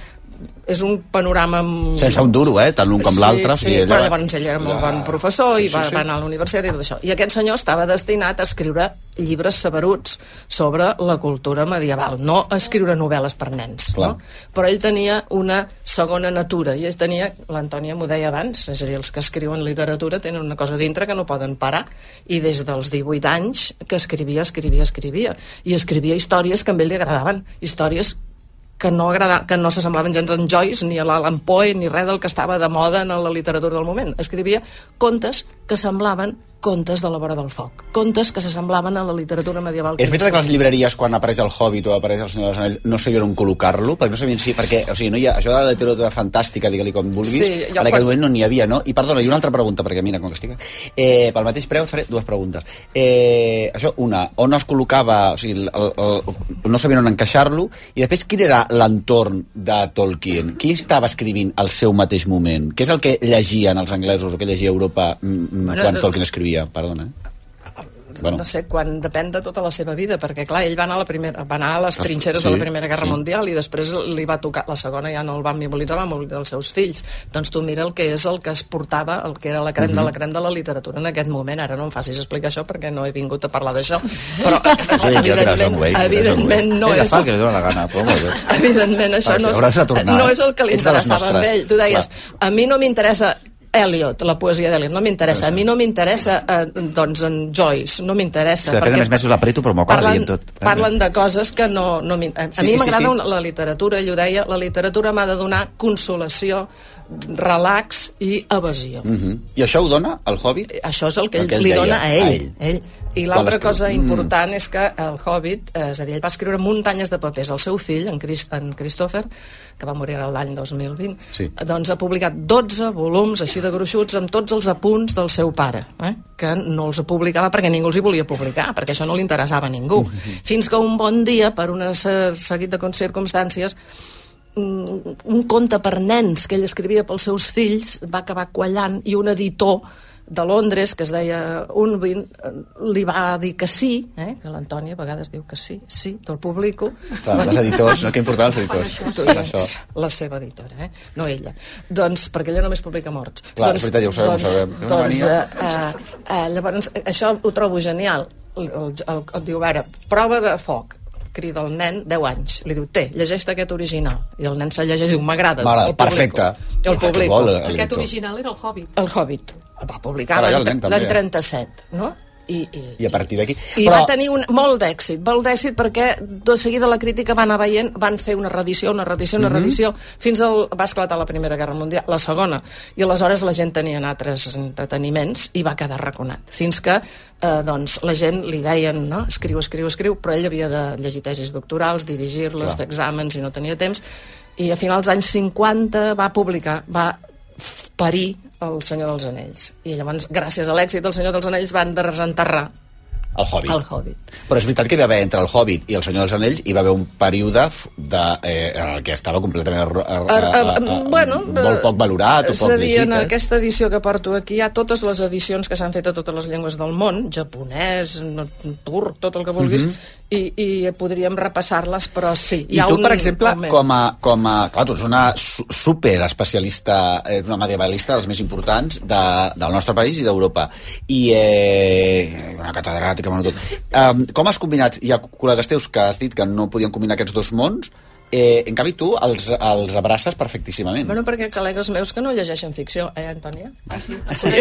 Speaker 11: és un panorama... amb-
Speaker 3: Sense un duro, eh? Tant l'un com l'altre. o
Speaker 11: Sí, sí,
Speaker 3: sigui, ella
Speaker 11: però
Speaker 3: va-
Speaker 11: llavors ell era molt bon professor sí, i va, sí, sí. va anar a la universitat i tot això. I aquest senyor estava destinat a escriure llibres saberuts sobre la cultura medieval, no a escriure novel·les per nens.
Speaker 3: Clar.
Speaker 11: No? Però ell tenia una segona natura, i ell tenia, l'Antònia m'ho deia abans, és a dir, els que escriuen literatura tenen una cosa dintre que no poden parar, i des dels 18 anys que escrivia, escrivia, escrivia, i escrivia històries que a ell li agradaven, històries que no, agrada, que no s'assemblaven gens en Joyce, ni a l'Alan Poe, ni res del que estava de moda en la literatura del moment. Escrivia contes que semblaven contes de la vora del foc, contes que s'assemblaven a la literatura medieval.
Speaker 3: És veritat que les llibreries, quan apareix el Hobbit o apareix el Senyor dels Anells, no sabien on col·locar-lo? Perquè no sabien si... Perquè, o sigui, no hi ha, això de la literatura fantàstica, digue-li com vulguis,
Speaker 11: Sí,
Speaker 3: sí, en
Speaker 11: jo
Speaker 3: aquell
Speaker 11: quan-
Speaker 3: moment no n'hi havia, no? I, perdona, i una altra pregunta, perquè mira com que estic... Eh, pel mateix preu et faré dues preguntes. Eh, això, una, on es col·locava... O sigui, el, el, el, no sabien on encaixar-lo, i després, quin era l'entorn de Tolkien? Qui estava escrivint al seu mateix moment? Què és el que llegien els anglesos o que llegia Europa mm, mm,
Speaker 11: Bueno,
Speaker 3: quan
Speaker 11: no-
Speaker 3: Tolkien escrivia? Perdona, eh?
Speaker 11: Bueno. No sé, quan depèn de tota la seva vida, perquè clar, ell va anar a, la primera, va anar a les
Speaker 3: Ah,
Speaker 11: trinxeres
Speaker 3: sí,
Speaker 11: de la Primera Guerra
Speaker 3: sí.
Speaker 11: Mundial i després li va tocar, la segona ja no el va mobilitzar, va mobilitzar els seus fills. Doncs tu mira el que és el que es portava, el que era la crem de la
Speaker 3: Mhm.
Speaker 11: crem de la literatura en aquest moment. Ara no em facis explicar això perquè no he vingut a parlar d'això,
Speaker 3: Sí,
Speaker 11: però evidentment, evidentment no és
Speaker 3: el que li dóna la gana, però molt bé.
Speaker 11: evidentment això
Speaker 3: Perquè
Speaker 11: no
Speaker 3: hauràs
Speaker 11: és,
Speaker 3: de tornar,
Speaker 11: no
Speaker 3: eh?
Speaker 11: és el que li
Speaker 3: Ets de les
Speaker 11: interessava a
Speaker 3: nostres,
Speaker 11: ell. Tu deies, a mi no m'interessa Eliot, la poesia d'Eliot, no m'interessa. A mi no m'interessa, eh, doncs, en Joyce, no m'interessa.
Speaker 17: Que de fet, a més mesos l'apreto, però m'ho acaba dient tot. eh,
Speaker 11: parlen de coses que no... no m'in- a
Speaker 17: Sí,
Speaker 11: a mi
Speaker 17: sí, sí,
Speaker 11: m'agrada
Speaker 17: sí.
Speaker 11: una- la literatura, i ho deia, la literatura m'ha de donar consolació, relax i evasió.
Speaker 3: Mm I això ho dona el Hobbit?
Speaker 11: Eh, Això és el que ell, el que ell li dona a ell. Eh? A ell. I
Speaker 3: Quan
Speaker 11: l'altra
Speaker 3: escriu-
Speaker 11: cosa
Speaker 3: Mm.
Speaker 11: important és que el Hobbit, eh, és a dir, ell va escriure muntanyes de papers. El seu fill, en, Christ, en Christopher, que va morir ara l'any 2020,
Speaker 3: Sí.
Speaker 11: eh, doncs ha publicat 12 volums així de gruixuts amb tots els apunts del seu pare, eh? que no els publicava perquè ningú els hi volia publicar, perquè això no li interessava a ningú. Fins que un bon dia, per un cer- seguit de con- circumstàncies, mm, un conte per nens que ell escrivia pels seus fills va acabar quallant i un editor de Londres, que es deia Unwin, eh, li va dir que sí, eh? que l'Antònia a vegades diu que sí, sí, te'l publico.
Speaker 3: Clar, les editors, no? Que important els editors.
Speaker 11: Tu
Speaker 3: Fan
Speaker 11: ets
Speaker 3: això.
Speaker 11: La seva editora, eh? no ella. Doncs, perquè ella només publica morts.
Speaker 3: Clar,
Speaker 11: doncs,
Speaker 3: és veritat, ja ho sabem, ho
Speaker 11: doncs,
Speaker 3: sabem. Té una
Speaker 11: Doncs,
Speaker 3: mania.
Speaker 11: eh, eh, eh, llavors, eh, això ho trobo genial. El, el, el, el diu, ara, prova de foc crida el nen, 10 anys, li diu, té, llegeix aquest original. I el nen se llegeix i diu, m'agrada.
Speaker 3: M'agrada,
Speaker 11: el publico.
Speaker 3: perfecte. Ah,
Speaker 11: El
Speaker 3: Que
Speaker 11: publico.
Speaker 3: vol, el
Speaker 9: Aquest original era el Hobbit.
Speaker 11: El Hobbit. El va publicar
Speaker 3: Carai, el nen
Speaker 11: l'any
Speaker 3: també,
Speaker 11: l'any
Speaker 3: eh?
Speaker 11: 37, no? I, i
Speaker 3: I a partir d'aquí...
Speaker 11: i Però... va tenir un, molt d'èxit, molt d'èxit perquè de seguida la crítica va anar veient, van fer una redició, una redició, una
Speaker 3: Mhm.
Speaker 11: redició, fins al, va esclatar la Primera Guerra Mundial, la Segona, i aleshores la gent tenia altres entreteniments i va quedar raconat, fins que eh, doncs, la gent li deien, no? escriu, escriu, escriu, però ell havia de llegir tesis doctorals, dirigir-les,
Speaker 3: Clar.
Speaker 11: fer exàmens i no tenia temps, i a finals dels anys 50 va publicar, va parir el Senyor dels Anells. I llavors, gràcies a l'èxit del Senyor dels Anells, van de desenterrar
Speaker 3: El Hobbit.
Speaker 11: El Hobbit.
Speaker 3: Però és veritat que hi va haver entre el Hobbit i el Senyor dels Anells hi va haver un període f- de, eh, en el que estava completament ar, ar,
Speaker 11: Ar-
Speaker 3: ar,
Speaker 11: ar-
Speaker 3: ar,
Speaker 11: Er, eh, bueno,
Speaker 3: ah,
Speaker 11: eh,
Speaker 3: molt poc valorat o
Speaker 11: És
Speaker 3: poc
Speaker 11: a dir,
Speaker 3: llegit.
Speaker 11: en
Speaker 3: eh?
Speaker 11: aquesta edició que porto aquí hi ha totes les edicions que s'han fet a totes les llengües del món, japonès, no- turc, tot el que vulguis,
Speaker 3: Mhm.
Speaker 11: i, i podríem repassar-les, però sí. hi
Speaker 3: I
Speaker 11: ha
Speaker 3: tu,
Speaker 11: un
Speaker 3: per exemple,
Speaker 11: moment.
Speaker 3: com a, com a... Clar, tu ets una su- superespecialista, eh, una medievalista dels més importants de, del nostre país i d'Europa. I eh, una catedràtica, bueno, tot. Um, com has combinat... Hi ha col·legues teus que has dit que no podien combinar aquests dos mons, eh, en canvi tu els, els abraces perfectíssimament.
Speaker 11: Bueno, perquè col·legues meus que no llegeixen ficció, eh, Antònia? Ah, sí?
Speaker 3: Sí.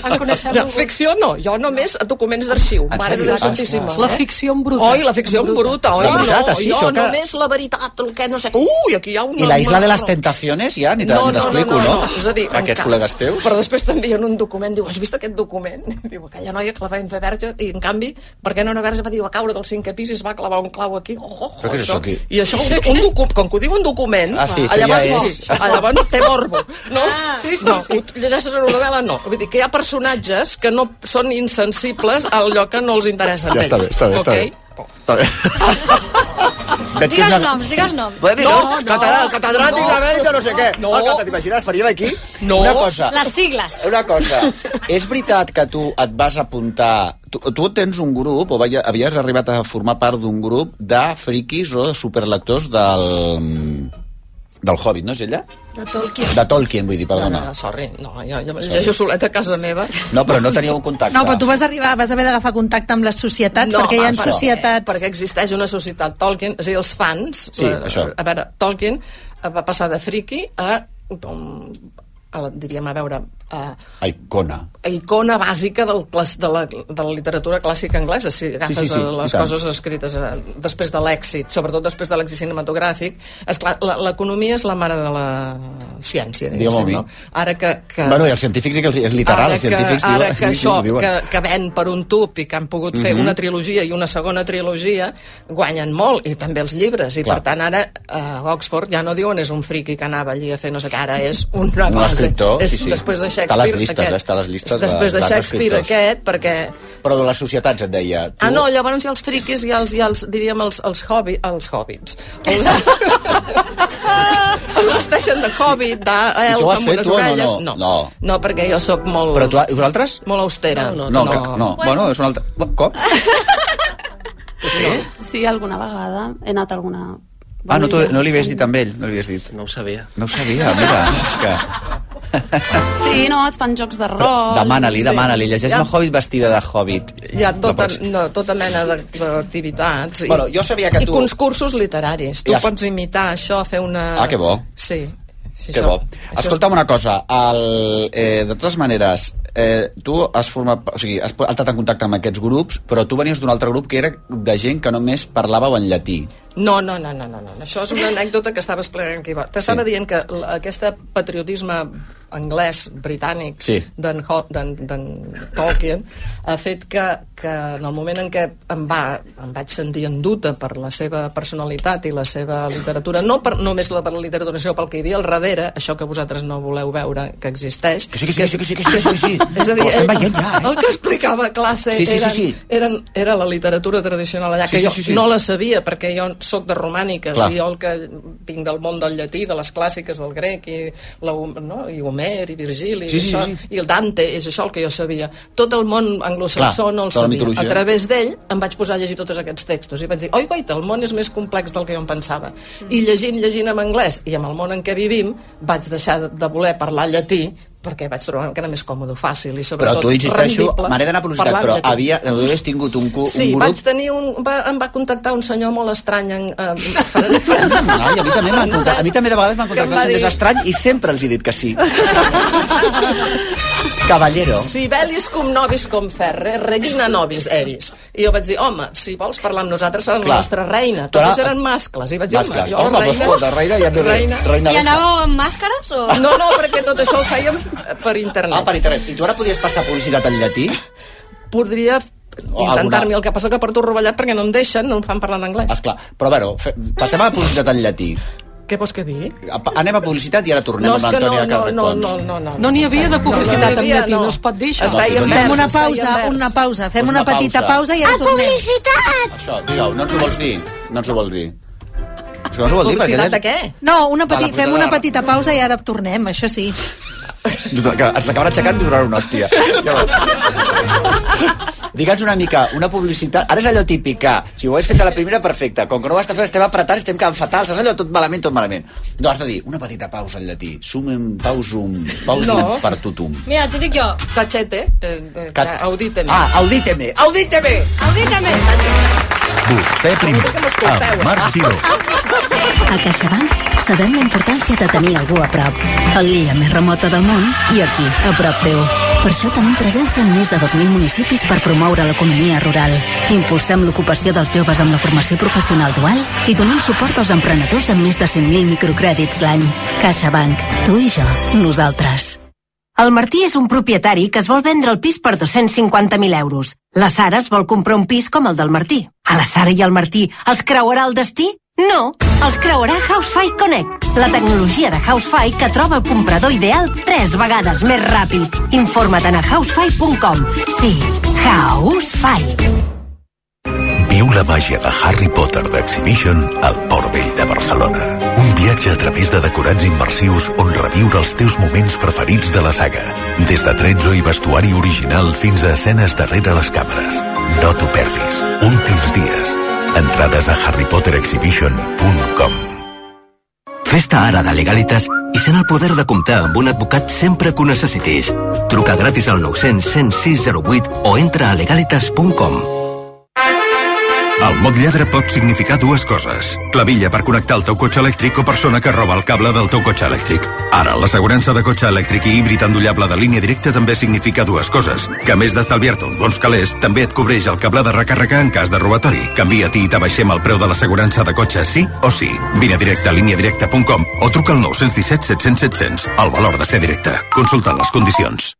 Speaker 11: En coneixem no, ficció Ah, no, jo només a documents d'arxiu,
Speaker 3: Ah,
Speaker 11: mare
Speaker 3: sí?
Speaker 11: de
Speaker 3: Ah,
Speaker 11: santíssima.
Speaker 3: clar. La
Speaker 11: ficció en bruta. Oi, la ficció en bruta, oi?
Speaker 3: La veritat, ah,
Speaker 11: no,
Speaker 3: sí,
Speaker 11: jo
Speaker 3: això que-
Speaker 11: només la veritat, el que no sé... Ui, aquí hi ha una...
Speaker 3: I la Isla de les
Speaker 11: una-
Speaker 3: Tentaciones ja, ni te- ni t'explico,
Speaker 11: no,
Speaker 3: no?
Speaker 11: no, no, És a dir,
Speaker 3: Aquests
Speaker 11: encara-
Speaker 3: col·legues teus?
Speaker 11: Però després t'envien un document, diu, has vist aquest document? Diu, aquella noia que la van fer verge, i en canvi, perquè no era verge, va dir, va caure del cinquè pis i es va clavar un clau aquí. Oh, oh,
Speaker 3: Però què és això aquí?
Speaker 11: I això, un, un document, com que ho diu un document,
Speaker 3: Ah, sí, això
Speaker 11: allà,
Speaker 3: ja
Speaker 11: llavors,
Speaker 3: és.
Speaker 11: allà llavors té morbo. No?
Speaker 10: Ah, sí, sí,
Speaker 11: no,
Speaker 10: sí.
Speaker 11: ho llegeixes en una novel·la, no. Vull dir que hi ha personatges que no són insensibles a allò que no els interessa a
Speaker 3: Ja està
Speaker 11: ells.
Speaker 3: bé, està bé, està
Speaker 11: Ok?
Speaker 3: bé. Està bé. Veig que és
Speaker 10: Digues
Speaker 3: una-
Speaker 10: noms, digues noms.
Speaker 3: Podem dir
Speaker 10: No,
Speaker 3: noms?
Speaker 10: no,
Speaker 3: Catedral, catedràtic,
Speaker 10: no.
Speaker 3: Abel, jo no sé què.
Speaker 10: No.
Speaker 3: El cata- T'imagines, faríem aquí
Speaker 11: No.
Speaker 3: una cosa.
Speaker 10: Les sigles.
Speaker 3: Una cosa, és veritat que tu et vas apuntar... Tu, tu tens un grup, o vaja, havies arribat a formar part d'un grup de friquis o de superlectors del... del Hobbit, no és ella?
Speaker 11: De Tolkien.
Speaker 3: De Tolkien, vull dir,
Speaker 11: No,
Speaker 3: perdona.
Speaker 11: no, sorry, no, jo, jo me llegeixo solet a casa meva.
Speaker 3: No, però no teníeu un contacte.
Speaker 15: No, però tu vas, arribar, vas haver d'agafar contacte amb les societats,
Speaker 11: No,
Speaker 15: perquè hi ha
Speaker 10: ah,
Speaker 11: home, però-
Speaker 15: societats...
Speaker 11: Perquè existeix una societat Tolkien, és a dir, els fans...
Speaker 15: Sí,
Speaker 11: la-
Speaker 15: això.
Speaker 11: A veure, Tolkien eh, va passar de friki a, um, a la- diríem, a veure, a,
Speaker 3: Icona.
Speaker 11: a icona bàsica del, clas- de, la, de la literatura clàssica anglesa, si agafes
Speaker 3: Sí, sí, sí,
Speaker 11: les
Speaker 3: i tant.
Speaker 11: coses escrites eh, després de l'èxit, sobretot després de l'èxit cinematogràfic. Esclar, la- l'economia és la mare de la ciència,
Speaker 3: Digue'm a
Speaker 11: diguéssim,
Speaker 3: mi.
Speaker 11: no? Ara que... que
Speaker 3: Bueno, i els científics sí que els, és literal,
Speaker 11: ara
Speaker 3: els científics
Speaker 11: que,
Speaker 3: diuen,
Speaker 11: ara que
Speaker 3: sí, sí,
Speaker 11: això
Speaker 3: ho diuen.
Speaker 11: que, que ven per un tub i que han pogut fer
Speaker 3: Mhm.
Speaker 11: una trilogia i una segona trilogia guanyen molt, i també els llibres i
Speaker 3: Clar.
Speaker 11: per tant ara a Oxford ja no diuen és un friqui que anava allí a fer no sé què ara és una
Speaker 3: Un
Speaker 11: base
Speaker 3: escriptor,
Speaker 11: és,
Speaker 3: sí, sí.
Speaker 11: després de
Speaker 3: Està a
Speaker 11: Shakespeare
Speaker 3: les llistes,
Speaker 11: aquest,
Speaker 3: eh, està a les llistes
Speaker 11: és després
Speaker 3: de-
Speaker 11: de,
Speaker 3: dels
Speaker 11: Shakespeare
Speaker 3: escriptors.
Speaker 11: aquest perquè
Speaker 3: Però de les societats et deia... Tu...
Speaker 11: Ah, no, llavors ja els friquis i els, i els diríem, els, els, hobby, els hobbits. Els... es vesteixen de hobbit,
Speaker 3: I
Speaker 11: d'elf,
Speaker 3: això ho has
Speaker 11: amb
Speaker 3: fet
Speaker 11: unes
Speaker 3: tu o no?
Speaker 11: orelles...
Speaker 3: No, no.
Speaker 11: no, perquè jo sóc molt...
Speaker 3: Però tu, i vosaltres?
Speaker 11: Molt austera.
Speaker 3: No, no, que- no. Bueno, és un altre... Com?
Speaker 12: Sí, alguna vegada he anat a alguna...
Speaker 3: Ah, no, tu, no li havies dit amb ell, no li havies dit.
Speaker 16: No ho sabia.
Speaker 3: No ho sabia, mira. és Que...
Speaker 12: Sí, no, es fan jocs de rol.
Speaker 3: Demana-li,
Speaker 11: sí.
Speaker 3: demana-li. Llegeix
Speaker 11: Ja.
Speaker 3: la Hobbit vestida de Hobbit.
Speaker 11: Hi ha tota, no, tota mena de- d'activitats. i-
Speaker 3: Bueno, jo sabia que
Speaker 11: I
Speaker 3: tu-
Speaker 11: concursos literaris. Tu
Speaker 3: Ja.
Speaker 11: pots imitar això, fer una...
Speaker 3: Ah, que bo.
Speaker 11: Sí. sí
Speaker 3: Que
Speaker 11: això-
Speaker 3: bo.
Speaker 11: això és-
Speaker 3: Escolta'm una cosa, el, eh, de totes maneres, eh, tu has format, o sigui, has po- has estat en contacte amb aquests grups, però tu venies d'un altre grup que era de gent que només parlàveu en llatí.
Speaker 11: No, no, no, no, no, no. Això és una anècdota que estava explicant aquí. T'estava sí. dient que l- aquest patriotisme anglès, britànic,
Speaker 3: Sí.
Speaker 11: d'en Ho- d'en- d'en Tolkien, ha fet que, que en el moment en què em, va, em vaig sentir enduta per la seva personalitat i la seva literatura, no per, només la, per la literatura, sinó pel que hi havia al darrere, això que vosaltres no voleu veure que existeix... Que sí, que sí, que sí, que sí, que sí, que sí. És a dir,
Speaker 3: Ho estem
Speaker 11: eh,
Speaker 3: veient ja, eh?
Speaker 11: el que explicava a classe
Speaker 3: Sí, sí, sí,
Speaker 11: eren,
Speaker 3: sí.
Speaker 11: Eren, era la literatura tradicional allà,
Speaker 3: Sí,
Speaker 11: que
Speaker 3: sí,
Speaker 11: jo
Speaker 3: sí, sí.
Speaker 11: no la sabia, perquè jo sóc de romàniques,
Speaker 3: Clar.
Speaker 11: i jo el que vinc del món del llatí, de les clàssiques del grec, i, la, Hom- no? I Homer, i Virgili,
Speaker 3: Sí,
Speaker 11: i,
Speaker 3: sí,
Speaker 11: això,
Speaker 3: sí,
Speaker 11: i el Dante, és això el que jo sabia. Tot el món anglosaxó
Speaker 3: Clar,
Speaker 11: no el
Speaker 3: tota la
Speaker 11: sabia.
Speaker 3: mitologia.
Speaker 11: A través d'ell em vaig posar a llegir tots aquests textos, i vaig dir, oi, guaita, el món és més complex del que jo em pensava. I llegint, llegint en anglès, i amb el món en què vivim, vaig deixar de- de voler parlar llatí, perquè vaig trobar que era més còmode, fàcil i
Speaker 3: Però
Speaker 11: sobretot
Speaker 3: tu, insisteixo,
Speaker 11: rendible
Speaker 3: m'agrada d'anar a publicitat,
Speaker 11: parlar en
Speaker 3: però
Speaker 11: llatí.
Speaker 3: havia, havies tingut un, cu- un
Speaker 11: Sí,
Speaker 3: grup...
Speaker 11: vaig tenir un... Va, em va contactar un senyor molt estrany en, eh, en, en, en,
Speaker 3: Ai, a mi també m'han contactat, a mi també de vegades m'han
Speaker 11: Que em va
Speaker 3: contactat gent
Speaker 11: dir-
Speaker 3: és estrany i sempre els he dit que sí. Caballero.
Speaker 11: Si velis cum nobis com ferre, regina nobis eris. I jo vaig dir, home, si vols parlar amb nosaltres seràs
Speaker 3: Clar.
Speaker 11: la nostra reina.
Speaker 3: Clar.
Speaker 11: Tots eren mascles. I vaig dir, home,
Speaker 3: Mascles.
Speaker 11: jo
Speaker 3: Home, doncs, escolta, reina ja no- reina I bé. anàveu
Speaker 11: amb màscares o...? No, no, perquè tot això ho fèiem per internet.
Speaker 3: Ah, per internet. I tu ara podies passar publicitat en llatí?
Speaker 11: Podria
Speaker 3: O
Speaker 11: intentar-m'hi, el que passa que porto rovellat perquè no em deixen, no em fan parlar en anglès.
Speaker 3: Ah, clar. Però, bueno, fe... passem a publicitat en llatí.
Speaker 11: Què vols que digui?
Speaker 3: Apa, Anem a publicitat i ara tornem
Speaker 11: No, és
Speaker 3: amb
Speaker 11: que
Speaker 3: l'Antònia
Speaker 11: no, no,
Speaker 3: Carret
Speaker 11: no,
Speaker 3: Pons.
Speaker 11: no, no, no.
Speaker 9: No n'hi havia de publicitat
Speaker 11: No, no
Speaker 9: en
Speaker 11: n'hi havia,
Speaker 9: llatí, no.
Speaker 11: no
Speaker 9: es pot dir això.
Speaker 11: Està
Speaker 15: Fem
Speaker 11: invers,
Speaker 15: una
Speaker 11: està
Speaker 15: pausa,
Speaker 11: invers.
Speaker 15: una pausa. Fem
Speaker 3: Pues
Speaker 15: una
Speaker 3: una
Speaker 15: petita
Speaker 3: pausa.
Speaker 15: pausa i
Speaker 12: Ah,
Speaker 15: ara tornem.
Speaker 3: Això, digue-ho, no ens ho vols dir? No ens ho vols dir? És que no ens ho vol dir, perquè...
Speaker 11: Publicitat de
Speaker 3: ella-
Speaker 11: què?
Speaker 15: No, una
Speaker 3: De la
Speaker 15: petit, fem
Speaker 3: fruita
Speaker 15: una
Speaker 3: de la-
Speaker 15: petita pausa i ara tornem, això sí.
Speaker 3: Ens acabarà aixecant i donarà una hòstia. Ja va. Digue'ns una mica, una publicitat... Ara és allò típic que, si ho has fet a la primera, perfecte. Com que no ho has de fer, estem apretant, estem quedant fatals. És allò tot malament, tot malament. No, has de dir, una petita pausa al llatí. Sumem, pausum, pausum
Speaker 11: No.
Speaker 3: per tothom.
Speaker 11: Mira, t'ho dic jo, cachete, eh, eh,
Speaker 3: Cat-
Speaker 11: audíteme.
Speaker 3: Ah, audíteme, audíteme!
Speaker 11: Audíteme!
Speaker 18: Vostè primer, amb Marc Giró.
Speaker 6: A CaixaBank sabem la importància de tenir algú a prop. A l'illa més remota del món i aquí, a prop teu. Per això tenim presència en més de 2.000 municipis per promoure l'economia rural. Impulsem l'ocupació dels joves amb la formació professional dual i donem suport als emprenedors amb més de 100.000 microcrèdits l'any. CaixaBank. Tu i jo. Nosaltres.
Speaker 8: El Martí és un propietari que es vol vendre el pis per 250.000 euros. La Sara es vol comprar un pis com el del Martí. A la Sara i al Martí els creuarà el destí? No, els creuarà Housefy Connect, la tecnologia de Housefy que troba el comprador ideal tres vegades més ràpid. Informa't a housefy.com. Sí, Housefy.
Speaker 2: Viu la màgia de Harry Potter d'Exhibition al Port Vell de Barcelona. Un viatge a través de decorats immersius on reviure els teus moments preferits de la saga. Des de tretzo i vestuari original fins a escenes darrere les càmeres. No t'ho perdis. Últims dies. Entrades a harrypoterexhibition.com
Speaker 19: Fes-te ara de Legalitas i sent el poder de comptar amb un advocat sempre que ho necessitis. Truca gratis al 900 106 08 o entra a legalitas.com.
Speaker 2: El mot lladre pot significar dues coses. Clavilla per connectar el teu cotxe elèctric o persona que roba el cable del teu cotxe elèctric. Ara, l'assegurança de cotxe elèctric i híbrid endollable de línia directa també significa dues coses. Que a més d'estalviar-te uns bons calés, també et cobreix el cable de recàrrega en cas de robatori. Canvia-t'hi i t'abaixem el preu de l'assegurança de cotxe sí o sí. Vine a directe a líniadirecta.com o truca al 917 700 700. El valor de ser directe. Consulta les condicions.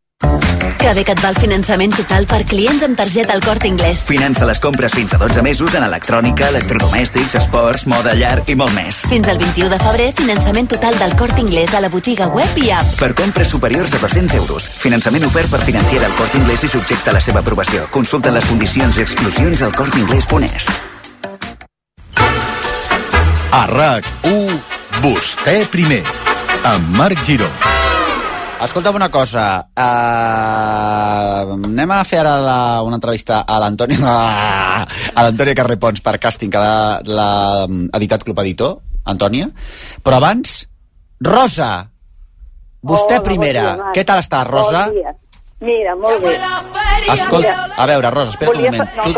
Speaker 6: Que bé que et va el finançament total per clients amb targeta al Corte Inglés.
Speaker 20: Finança les compres fins a 12 mesos en electrònica, electrodomèstics, esports, moda, llar i molt més.
Speaker 6: Fins al 21 de febrer, finançament total del Corte Inglés a la botiga web i app.
Speaker 20: Per compres superiors a 200 euros. Finançament ofert per financiar el Corte Inglés i subjecte a la seva aprovació. Consulta les condicions i exclusions al corteinglés.es.
Speaker 18: A RAC1, vostè primer, amb Marc Giró.
Speaker 3: Escolta'm una cosa, uh, anem a fer ara la, una entrevista a l'Antònia a l'Antònia Carrepons per càsting que l'ha- l'ha mm, editat Club Editor, Antònia. Però abans, Rosa, vostè
Speaker 21: Hola,
Speaker 3: primera.
Speaker 21: bon dia, Marc.
Speaker 3: Què tal estàs, Rosa?
Speaker 21: Bon dia. Mira, molt bé.
Speaker 3: Escolta, a veure, Rosa, espera't un
Speaker 21: Volia,
Speaker 3: moment.
Speaker 21: no, que us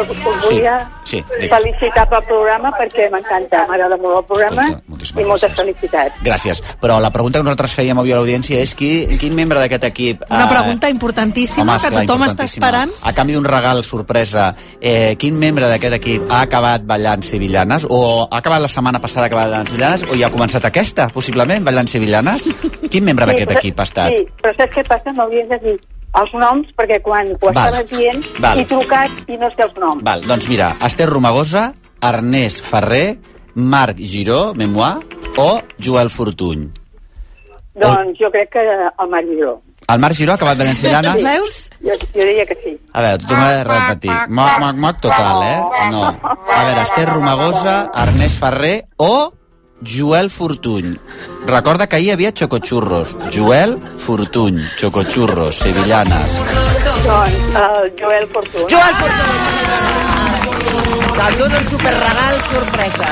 Speaker 3: Sí,
Speaker 21: volia
Speaker 3: sí, digues.
Speaker 21: felicitar pel programa perquè m'encanta, m'agrada molt el programa i moltes felicitats.
Speaker 3: Gràcies. Però la pregunta que nosaltres fèiem avui a l'audiència és qui, quin membre d'aquest equip...
Speaker 15: Una
Speaker 3: eh,
Speaker 15: pregunta importantíssima que
Speaker 3: esclar,
Speaker 15: tothom està
Speaker 3: importantíssima.
Speaker 15: esperant.
Speaker 3: A canvi d'un regal sorpresa, eh, quin membre d'aquest equip ha acabat ballant sevillanes? O ha acabat la setmana passada que va ballant sevillanes? O ja ha començat aquesta, possiblement, ballant sevillanes? Quin membre d'aquest
Speaker 21: però-
Speaker 3: equip ha estat?
Speaker 21: Sí, però saps què passa? M'hauries de dir els noms perquè quan ho
Speaker 3: Val.
Speaker 21: estaves dient
Speaker 3: Val.
Speaker 21: he trucat i no sé els noms.
Speaker 3: Val, doncs mira, Esther Romagosa, Ernest Ferrer, Marc Giró, Memoir, o Joel Fortuny.
Speaker 21: Doncs jo crec que el Mariló.
Speaker 3: El Marc Giró ha acabat ballant sevillanes?
Speaker 21: Veus? Jo, jo diria que sí.
Speaker 3: A veure, tothom ha de repetir. Moc, moc, moc, total, eh? No. A veure, Esther Romagosa, Ernest Ferrer o Joel Fortuny. Recorda que ahir hi havia xocochurros. Joel Fortuny, xocochurros, sevillanes.
Speaker 21: Doncs el Joel Fortuna. Joel Fortuna!
Speaker 22: Te'n dono un superregal sorpresa.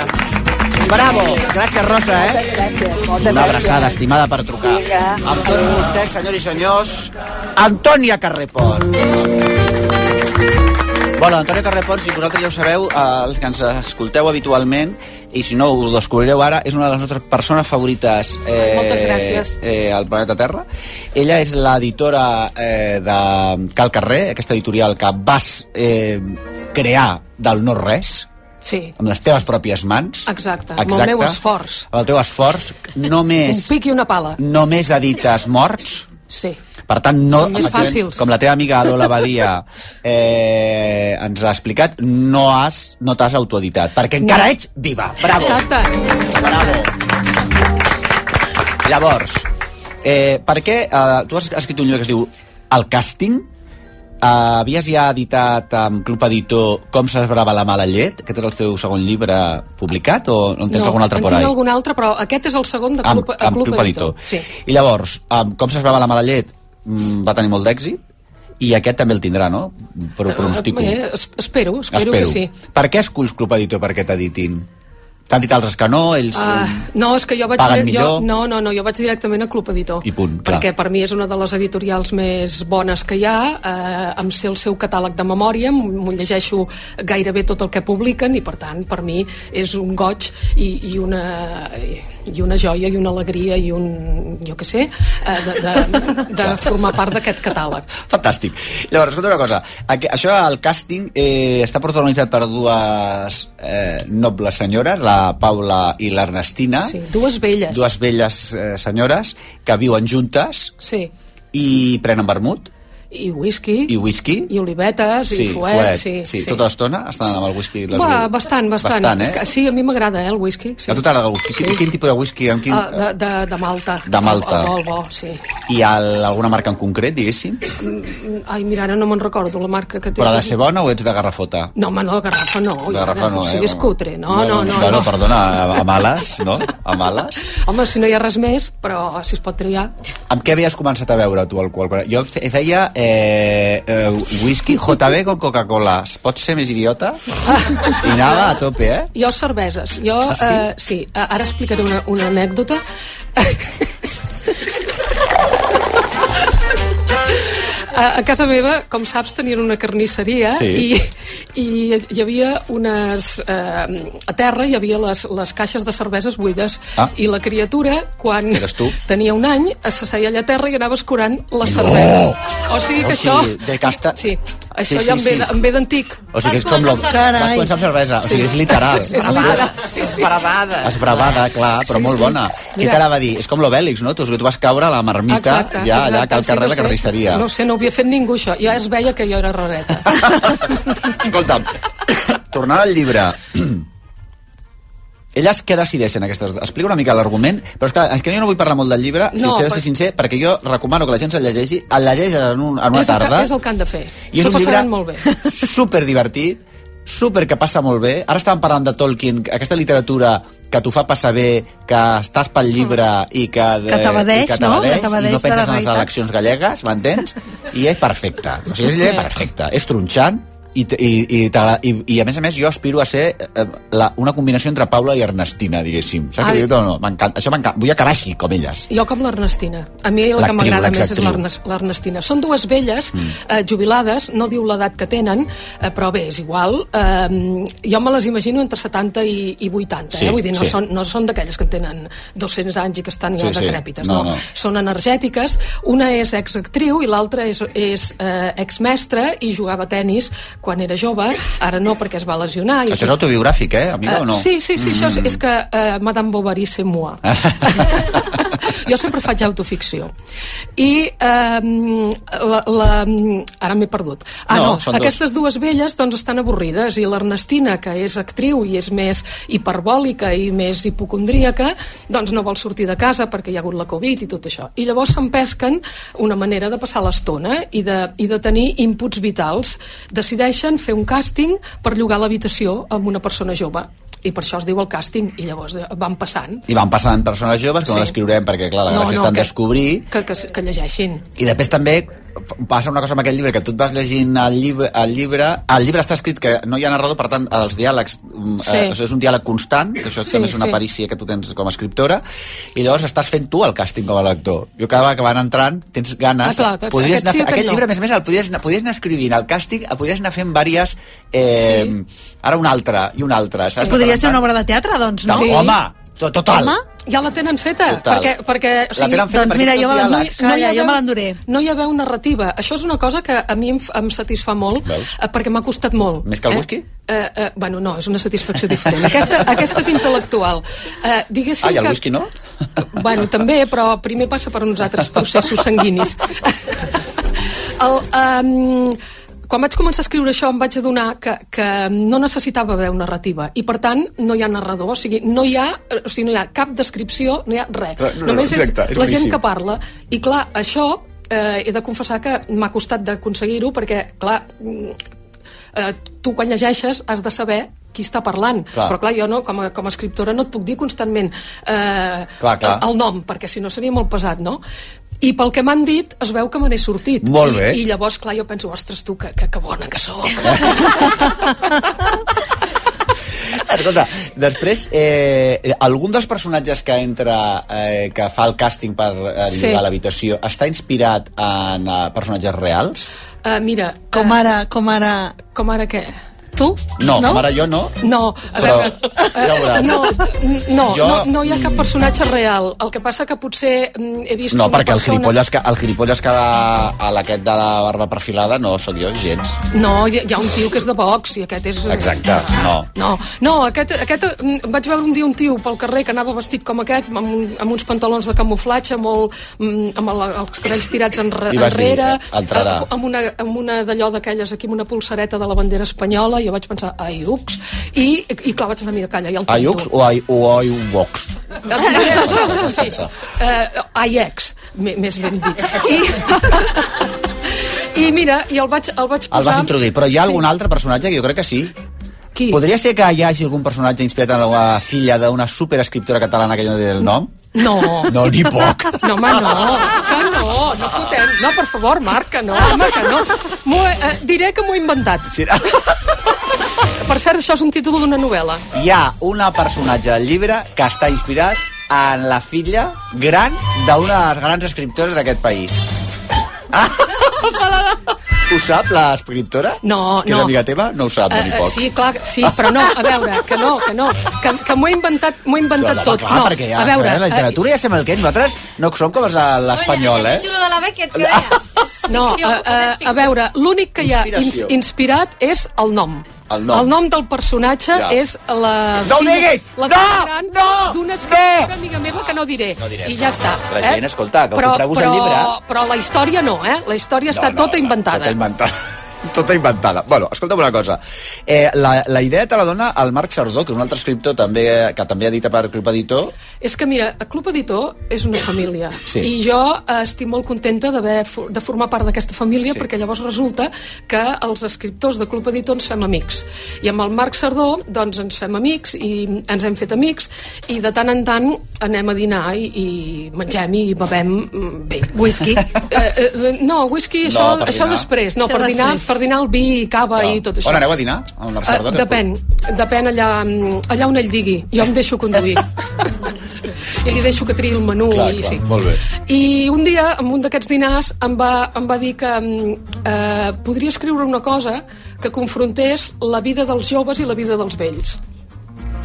Speaker 22: Bravo. Gràcies, Rosa, eh?
Speaker 3: Una abraçada estimada per trucar. Amb tots vostès, senyors i senyors, Antònia Carrepon. Bueno, Antònia Carrepons, si vosaltres ja ho sabeu, eh, els que ens escolteu habitualment, i si no ho descobrireu ara, és una de les nostres persones favorites eh,
Speaker 23: Moltes gràcies.
Speaker 3: eh, al planeta Terra. Ella és l'editora eh, de Cal Carrer, aquesta editorial que vas eh, crear del no-res,
Speaker 9: Sí,
Speaker 3: amb les teves pròpies mans,
Speaker 9: exacte. Amb
Speaker 3: Exacte.
Speaker 9: el meu esforç.
Speaker 3: amb el teu esforç,
Speaker 9: Un
Speaker 3: només,
Speaker 9: pic i una pala.
Speaker 3: només edites morts,
Speaker 9: Sí.
Speaker 3: per tant, no,
Speaker 9: Són més
Speaker 3: efectivament,
Speaker 9: fàcils.
Speaker 3: com la teva amiga Lola Badia eh, ens ha explicat, no has no t'has autoeditat, perquè encara
Speaker 9: No.
Speaker 3: ets viva. Bravo.
Speaker 9: Exacte.
Speaker 3: Bravo. Llavors, eh, per què... Eh, tu has escrit un llibre que es diu El càsting? Eh, havies ja editat amb Club Editor Com s'esbrava la mala llet? Aquest és el teu segon llibre publicat o no en tens algun altre
Speaker 9: en
Speaker 3: por
Speaker 9: tinc
Speaker 3: ahí?
Speaker 9: algun altre, però aquest és el segon de
Speaker 3: Amb-
Speaker 9: Club, a
Speaker 3: amb
Speaker 9: Club,
Speaker 3: Club
Speaker 9: Editor.
Speaker 3: Editor.
Speaker 9: Sí.
Speaker 3: I llavors, amb Com s'esbrava la mala llet mm, va tenir molt d'èxit i aquest també el tindrà, no? Però pronostico.
Speaker 9: Eh, es- espero, espero, que sí.
Speaker 3: Per què esculls Club Editor perquè t'editin? T'han dit altres que no, ells...
Speaker 9: Ah,
Speaker 3: Uh,
Speaker 9: no, és que jo vaig...
Speaker 3: paguen
Speaker 9: direc- jo,
Speaker 3: millor.
Speaker 9: no, no, no, jo vaig directament a Club Editor.
Speaker 3: I punt, clar.
Speaker 9: perquè per mi és una de les editorials més bones que hi ha, eh, em sé el seu catàleg de memòria, m- m'ho llegeixo gairebé tot el que publiquen i per tant per mi és un goig i, i, una, i una joia i una alegria i un, jo què sé, eh, de, de, de formar part d'aquest catàleg.
Speaker 3: Fantàstic. Llavors, escolta una cosa. Aqu això, el càsting, eh, està protagonitzat per dues eh, nobles senyores, la Paula i l'Ernestina.
Speaker 9: Sí, dues velles.
Speaker 3: Ah? Dues velles eh, senyores que viuen juntes
Speaker 9: Sí,
Speaker 3: i prenen vermut
Speaker 9: i whisky,
Speaker 3: i whisky.
Speaker 9: i olivetes, i fuet, sí,
Speaker 3: sí, sí. Tota l'estona estan amb el whisky. i les
Speaker 9: Va,
Speaker 3: olives.
Speaker 9: bastant, bastant.
Speaker 3: Bastant,
Speaker 9: És que,
Speaker 3: eh?
Speaker 9: sí, a mi m'agrada, eh, el whisky. Sí.
Speaker 3: A tu t'agrada el whisky. Quin, quin tipus de whisky? Amb quin...
Speaker 9: Ah, de, de, de Malta.
Speaker 3: De Malta.
Speaker 9: El, el, el bo, sí.
Speaker 3: I el, alguna marca en concret, diguéssim?
Speaker 9: Mm, Ai, mira, ara no me'n recordo la marca que té.
Speaker 3: Però ha de ser bona o ets de garrafota?
Speaker 9: No, home, no, garrafa no.
Speaker 3: De garrafa no,
Speaker 9: O
Speaker 3: eh?
Speaker 9: sigui, és cutre. No, no, no.
Speaker 3: Bueno,
Speaker 9: no.
Speaker 3: perdona, a, a males, no? A males.
Speaker 9: Home, si no hi ha res més, però si es pot triar...
Speaker 3: Amb què havies començat a veure tu alcohol? Jo fe- feia eh, eh, whisky JB con Coca-Cola. Pot ser més idiota?
Speaker 9: Ah.
Speaker 3: I anava a tope, eh?
Speaker 9: Jo cerveses. Jo,
Speaker 3: Ah, sí?
Speaker 9: eh, sí. Eh, ara explicaré una, una anècdota. A a casa meva, com saps, tenien una carnisseria
Speaker 24: Sí.
Speaker 9: i, i hi havia unes... Eh, a terra hi havia les, les caixes de cerveses buides
Speaker 24: Ah.
Speaker 9: i la criatura, quan
Speaker 24: Eres tu.
Speaker 9: tenia un any, s'asseia allà a terra i anava escurant les cerveses. O sigui que
Speaker 3: O
Speaker 9: això...
Speaker 3: sigui, de casta...
Speaker 9: Sí, això
Speaker 3: Sí,
Speaker 9: ja em
Speaker 3: sí,
Speaker 9: ve,
Speaker 3: sí.
Speaker 9: de- em ve d'antic.
Speaker 3: O sigui, és com lo... Vas començar amb cervesa. O sigui, és literal.
Speaker 9: És literal. Sí, sí.
Speaker 24: Bravada.
Speaker 3: Esbravada, clar, però
Speaker 24: Sí,
Speaker 3: molt
Speaker 24: sí.
Speaker 3: bona. Què
Speaker 9: Mira.
Speaker 3: t'anava a dir? És com l'Obèlix, no? Tu, tu vas caure a la marmita, ja allà,
Speaker 9: exacte,
Speaker 3: al carrer
Speaker 9: sí,
Speaker 3: de la carnisseria.
Speaker 9: No ho sé, no ho havia fet ningú, això. Ja es veia que jo era rareta.
Speaker 3: Escolta'm, tornant al llibre... Elles què decideixen aquestes... Explica una mica l'argument, però és que, és que jo no vull parlar molt del llibre, si
Speaker 9: No,
Speaker 3: t'he de
Speaker 9: però-
Speaker 3: ser sincer, perquè jo recomano que la gent se'l llegeixi, el llegeix en, un, en una
Speaker 9: és, el que,
Speaker 3: tarda,
Speaker 9: és el que han de fer.
Speaker 3: I és
Speaker 9: S'ho
Speaker 3: un
Speaker 9: passaran
Speaker 3: llibre-
Speaker 9: molt bé.
Speaker 3: super divertit, super que passa molt bé. Ara estàvem parlant de Tolkien, aquesta literatura que t'ho fa passar bé, que estàs pel llibre i que... De,
Speaker 15: Ah. Que t'abadeix,
Speaker 3: i que
Speaker 15: no?
Speaker 3: t'abadeix,
Speaker 15: Que
Speaker 3: I
Speaker 15: t'abadeix
Speaker 3: no
Speaker 15: de la
Speaker 3: penses en les
Speaker 15: realitat.
Speaker 3: eleccions gallegues, m'entens? I és perfecte. O sigui, és un llibre
Speaker 15: Sí.
Speaker 3: perfecte. És tronxant, i, t- i, i, t'agra- i, i a més a més jo aspiro a ser eh, la, una combinació entre Paula i Ernestina diguéssim, saps
Speaker 9: Ai.
Speaker 3: què dic? No, no, m'encanta, això m'encanta, vull acabar així com elles
Speaker 9: Jo com l'Ernestina. A mi el que
Speaker 3: L'actriu,
Speaker 9: m'agrada més és
Speaker 3: l'exactriu.
Speaker 9: l'Ernes- l'Ernestina. Són dues velles, eh, jubilades, no diu l'edat que tenen, eh, però bé, és igual. Eh, jo me les imagino entre 70 i, i 80,
Speaker 24: Sí,
Speaker 9: eh? vull dir, no
Speaker 24: sí.
Speaker 9: són, no són d'aquelles que en tenen 200 anys i que estan ja
Speaker 24: Sí, sí.
Speaker 9: decrèpites,
Speaker 24: No,
Speaker 9: no,
Speaker 24: no.
Speaker 9: Són energètiques, una és exactriu i l'altra és, és eh, exmestre i jugava a tennis quan era jove, ara no perquè es va lesionar. I
Speaker 3: això és autobiogràfic, eh,
Speaker 15: Ah,
Speaker 3: amiga, o no?
Speaker 9: Eh, sí, sí, sí, mm. això és, és que eh, Madame Bovary c'est moi. jo sempre faig autoficció. I eh, la, la, ara m'he perdut. Ah,
Speaker 24: No,
Speaker 9: no,
Speaker 24: són dos.
Speaker 9: aquestes dues velles doncs, estan avorrides i l'Ernestina, que és actriu i és més hiperbòlica i més hipocondríaca, doncs no vol sortir de casa perquè hi ha hagut la Covid i tot això. I llavors s'empesquen una manera de passar l'estona i, de, i de tenir inputs vitals. Decideixen fer un càsting per llogar l'habitació amb una persona jove i per això es diu el càsting i llavors eh, van passant
Speaker 3: i van passant persones joves que sí.
Speaker 9: Sí.
Speaker 3: no l'escriurem perquè clar, la
Speaker 9: No,
Speaker 3: gràcia
Speaker 9: no,
Speaker 3: no, no, està
Speaker 9: que-
Speaker 3: en descobrir
Speaker 9: que, que, que llegeixin
Speaker 3: I després també passa una cosa amb aquest llibre, que tu et vas llegint el llibre, el llibre, el llibre està escrit que no hi ha narrador, per tant, els diàlegs sí.
Speaker 9: Sí.
Speaker 3: eh, això és un diàleg constant, que això
Speaker 9: Sí,
Speaker 3: també és una
Speaker 9: sí.
Speaker 3: parícia que tu tens com a escriptora, i llavors estàs fent tu el càsting com a lector. Jo cada vegada que van entrant, tens ganes...
Speaker 9: Ah, clar, doncs
Speaker 3: podies
Speaker 9: aquest
Speaker 3: anar,
Speaker 9: sí,
Speaker 3: fent-
Speaker 9: aquest
Speaker 3: aquest
Speaker 9: no.
Speaker 3: llibre, a més a més, el podies, anar- podies anar escrivint el càsting, el podies anar fent vàries... Eh, Ara un altre, i un altre, saps?
Speaker 15: Podria ser una obra de teatre, doncs, no?
Speaker 3: Sí. Home, to- total. Home?
Speaker 9: ja la tenen feta
Speaker 3: Total.
Speaker 9: Ah, perquè, perquè o
Speaker 3: La
Speaker 9: sigui,
Speaker 3: tenen feta
Speaker 15: Doncs
Speaker 3: perquè
Speaker 15: mira,
Speaker 3: són
Speaker 15: jo me la-
Speaker 3: diàlegs.
Speaker 15: no hi- Calla,
Speaker 9: hi ha
Speaker 15: jo
Speaker 9: veu-
Speaker 15: me l'enduré.
Speaker 9: No hi ha veu narrativa. Això és una cosa que a mi em, f- em satisfà molt,
Speaker 3: Veus?
Speaker 9: eh, perquè m'ha costat molt.
Speaker 3: Més que el
Speaker 9: eh?
Speaker 3: whisky?
Speaker 9: Eh, eh, bueno, no, és una satisfacció diferent. Aquesta, aquesta és intel·lectual. Eh, diguéssim
Speaker 3: Ah, i el
Speaker 9: que...
Speaker 3: whisky no?
Speaker 9: Bueno, també, però primer passa per uns altres processos sanguinis. El, um, Quan vaig començar a escriure això em vaig adonar que, que no necessitava veu narrativa i, per tant, no hi ha narrador, o sigui, no hi ha, o sigui, no hi ha cap descripció, no hi ha res.
Speaker 24: No, no, no,
Speaker 9: Només
Speaker 24: exacte,
Speaker 9: és,
Speaker 24: és
Speaker 9: la gent
Speaker 24: boníssim.
Speaker 9: que parla. I, clar, això eh, he de confessar que m'ha costat d'aconseguir-ho perquè, clar, mm, eh, tu quan llegeixes has de saber qui està parlant.
Speaker 3: Clar.
Speaker 9: Però clar, jo no, com a, com a escriptora no et puc dir constantment eh,
Speaker 3: Clar, clar.
Speaker 9: el nom, perquè si no seria molt pesat, no? I pel que m'han dit, es veu que me n'he sortit.
Speaker 3: Molt
Speaker 9: I,
Speaker 3: bé.
Speaker 9: I llavors, clar, jo penso, ostres, tu, que, que, que bona que sóc.
Speaker 3: Escolta, després, eh, algun dels personatges que entra, eh, que fa el càsting per eh, llogar
Speaker 9: Sí.
Speaker 3: l'habitació, està inspirat en eh, personatges reals?
Speaker 9: Uh, mira...
Speaker 15: Com ara, com ara...
Speaker 9: Com ara què?
Speaker 15: Tu?
Speaker 3: No, com ara jo no.
Speaker 9: No, a
Speaker 3: Però-
Speaker 9: veure... eh,
Speaker 3: ja ho veuràs.
Speaker 9: no, n- no,
Speaker 3: Jo-
Speaker 9: no, no hi ha cap personatge real. El que passa que potser mm, he vist
Speaker 3: No,
Speaker 9: una
Speaker 3: perquè el
Speaker 9: persona-
Speaker 3: gilipolles, que, el gilipolles que va a l'aquest de la barba perfilada no sóc jo, gens.
Speaker 9: No, hi ha, hi ha un tio que és de Vox i aquest és... eh,
Speaker 3: Exacte, no.
Speaker 9: No, no aquest, aquest, mm, vaig veure un dia un tio pel carrer que anava vestit com aquest, amb, un, amb uns pantalons de camuflatge, molt, mm, amb el, els cabells tirats enre,
Speaker 3: I vas dir,
Speaker 9: enrere,
Speaker 3: entrarà.
Speaker 9: eh, amb una, amb una d'allò d'aquelles aquí, amb una pulsareta de la bandera espanyola, i jo vaig pensar, ai, ux, i, i clar, vaig anar, mira, calla, ja el
Speaker 3: A Iux o a, o a Iuvox?
Speaker 9: Sí. Eh, AIEX, me- més ben dit. I, i mira, i el vaig, el vaig posar...
Speaker 3: El vas introduir, però hi ha algun altre personatge que jo crec que sí.
Speaker 9: Qui?
Speaker 3: Podria ser que hi hagi algun personatge inspirat en la filla d'una superescriptora catalana que jo no diré el nom?
Speaker 9: No.
Speaker 3: No, ni poc.
Speaker 9: No, home, no. Que no, no fotem. No, per favor, Marc, que no, home, que no. M'ho he- eh, diré que m'ho he inventat.
Speaker 3: Sí.
Speaker 9: Per cert, això és un títol d'una novel·la.
Speaker 3: Hi ha una personatge del llibre que està inspirat en la filla gran d'una de les grans escriptores d'aquest país. Ah! Ho sap, l'escriptora?
Speaker 9: No,
Speaker 3: que
Speaker 9: no.
Speaker 3: és amiga teva? No ho sap, no,
Speaker 9: Eh,
Speaker 3: ni
Speaker 9: eh,
Speaker 3: poc.
Speaker 9: sí, clar, que sí, però no, a veure, que no, que no, que, que m'ho he inventat, m'ho he inventat
Speaker 3: Home,
Speaker 9: tot.
Speaker 3: Clar,
Speaker 9: no,
Speaker 3: perquè ja,
Speaker 9: a veure, eh,
Speaker 3: la literatura ja sabem el que és. Nosaltres no som com els de l'espanyol, eh?
Speaker 10: Això de la Beck, et
Speaker 15: Ah.
Speaker 10: creia.
Speaker 9: No,
Speaker 10: Ficció,
Speaker 15: eh,
Speaker 9: a, a, a veure, l'únic que hi ha ins
Speaker 3: Inspiració.
Speaker 9: inspirat és el nom.
Speaker 3: El nom.
Speaker 9: el nom del personatge
Speaker 3: Ja.
Speaker 9: és la...
Speaker 3: No ho
Speaker 9: filla-
Speaker 3: diguis!
Speaker 9: La
Speaker 3: No!
Speaker 9: filla gran
Speaker 3: No!
Speaker 9: D'una escriptora amiga meva que no diré. No I ja està. eh?
Speaker 3: La gent, escolta, que
Speaker 9: però,
Speaker 3: compreu-vos el
Speaker 9: però,
Speaker 3: llibre.
Speaker 9: Però la història no, eh? La història està tota inventada.
Speaker 3: Tota inventada. Tota inventada. Bueno, escolta'm una cosa. Eh, la, la idea te la dona el Marc Sardó, que és un altre escriptor també, que també edita per Club Editor.
Speaker 9: És que, mira, el Club Editor és una família.
Speaker 3: Sí.
Speaker 9: I jo eh, estic molt contenta d'haver for- de formar part d'aquesta família, sí. perquè llavors resulta que els escriptors de Club Editor ens fem amics. I amb el Marc Sardó, doncs, ens fem amics i ens hem fet amics i de tant en tant anem a dinar i, i mengem i bevem mm, bé.
Speaker 15: Whisky?
Speaker 9: Eh, eh, no, whisky,
Speaker 3: No,
Speaker 9: això,
Speaker 3: per
Speaker 9: això
Speaker 3: dinar.
Speaker 9: després. No,
Speaker 3: Això
Speaker 9: per dinar,
Speaker 3: després.
Speaker 9: per dinar el vi, cava i tot això.
Speaker 3: On aneu a dinar? Al Marc Sardó?
Speaker 9: Eh,
Speaker 3: que
Speaker 9: depèn, depèn allà, mm, allà on ell digui. Jo em deixo conduir. I li deixo que triï el menú.
Speaker 3: Clar,
Speaker 9: i,
Speaker 3: clar,
Speaker 9: sí.
Speaker 3: molt bé.
Speaker 9: I un dia, en un d'aquests dinars, em va, em va dir que mm, eh, podria escriure una cosa que confrontés la vida dels joves i la vida dels vells.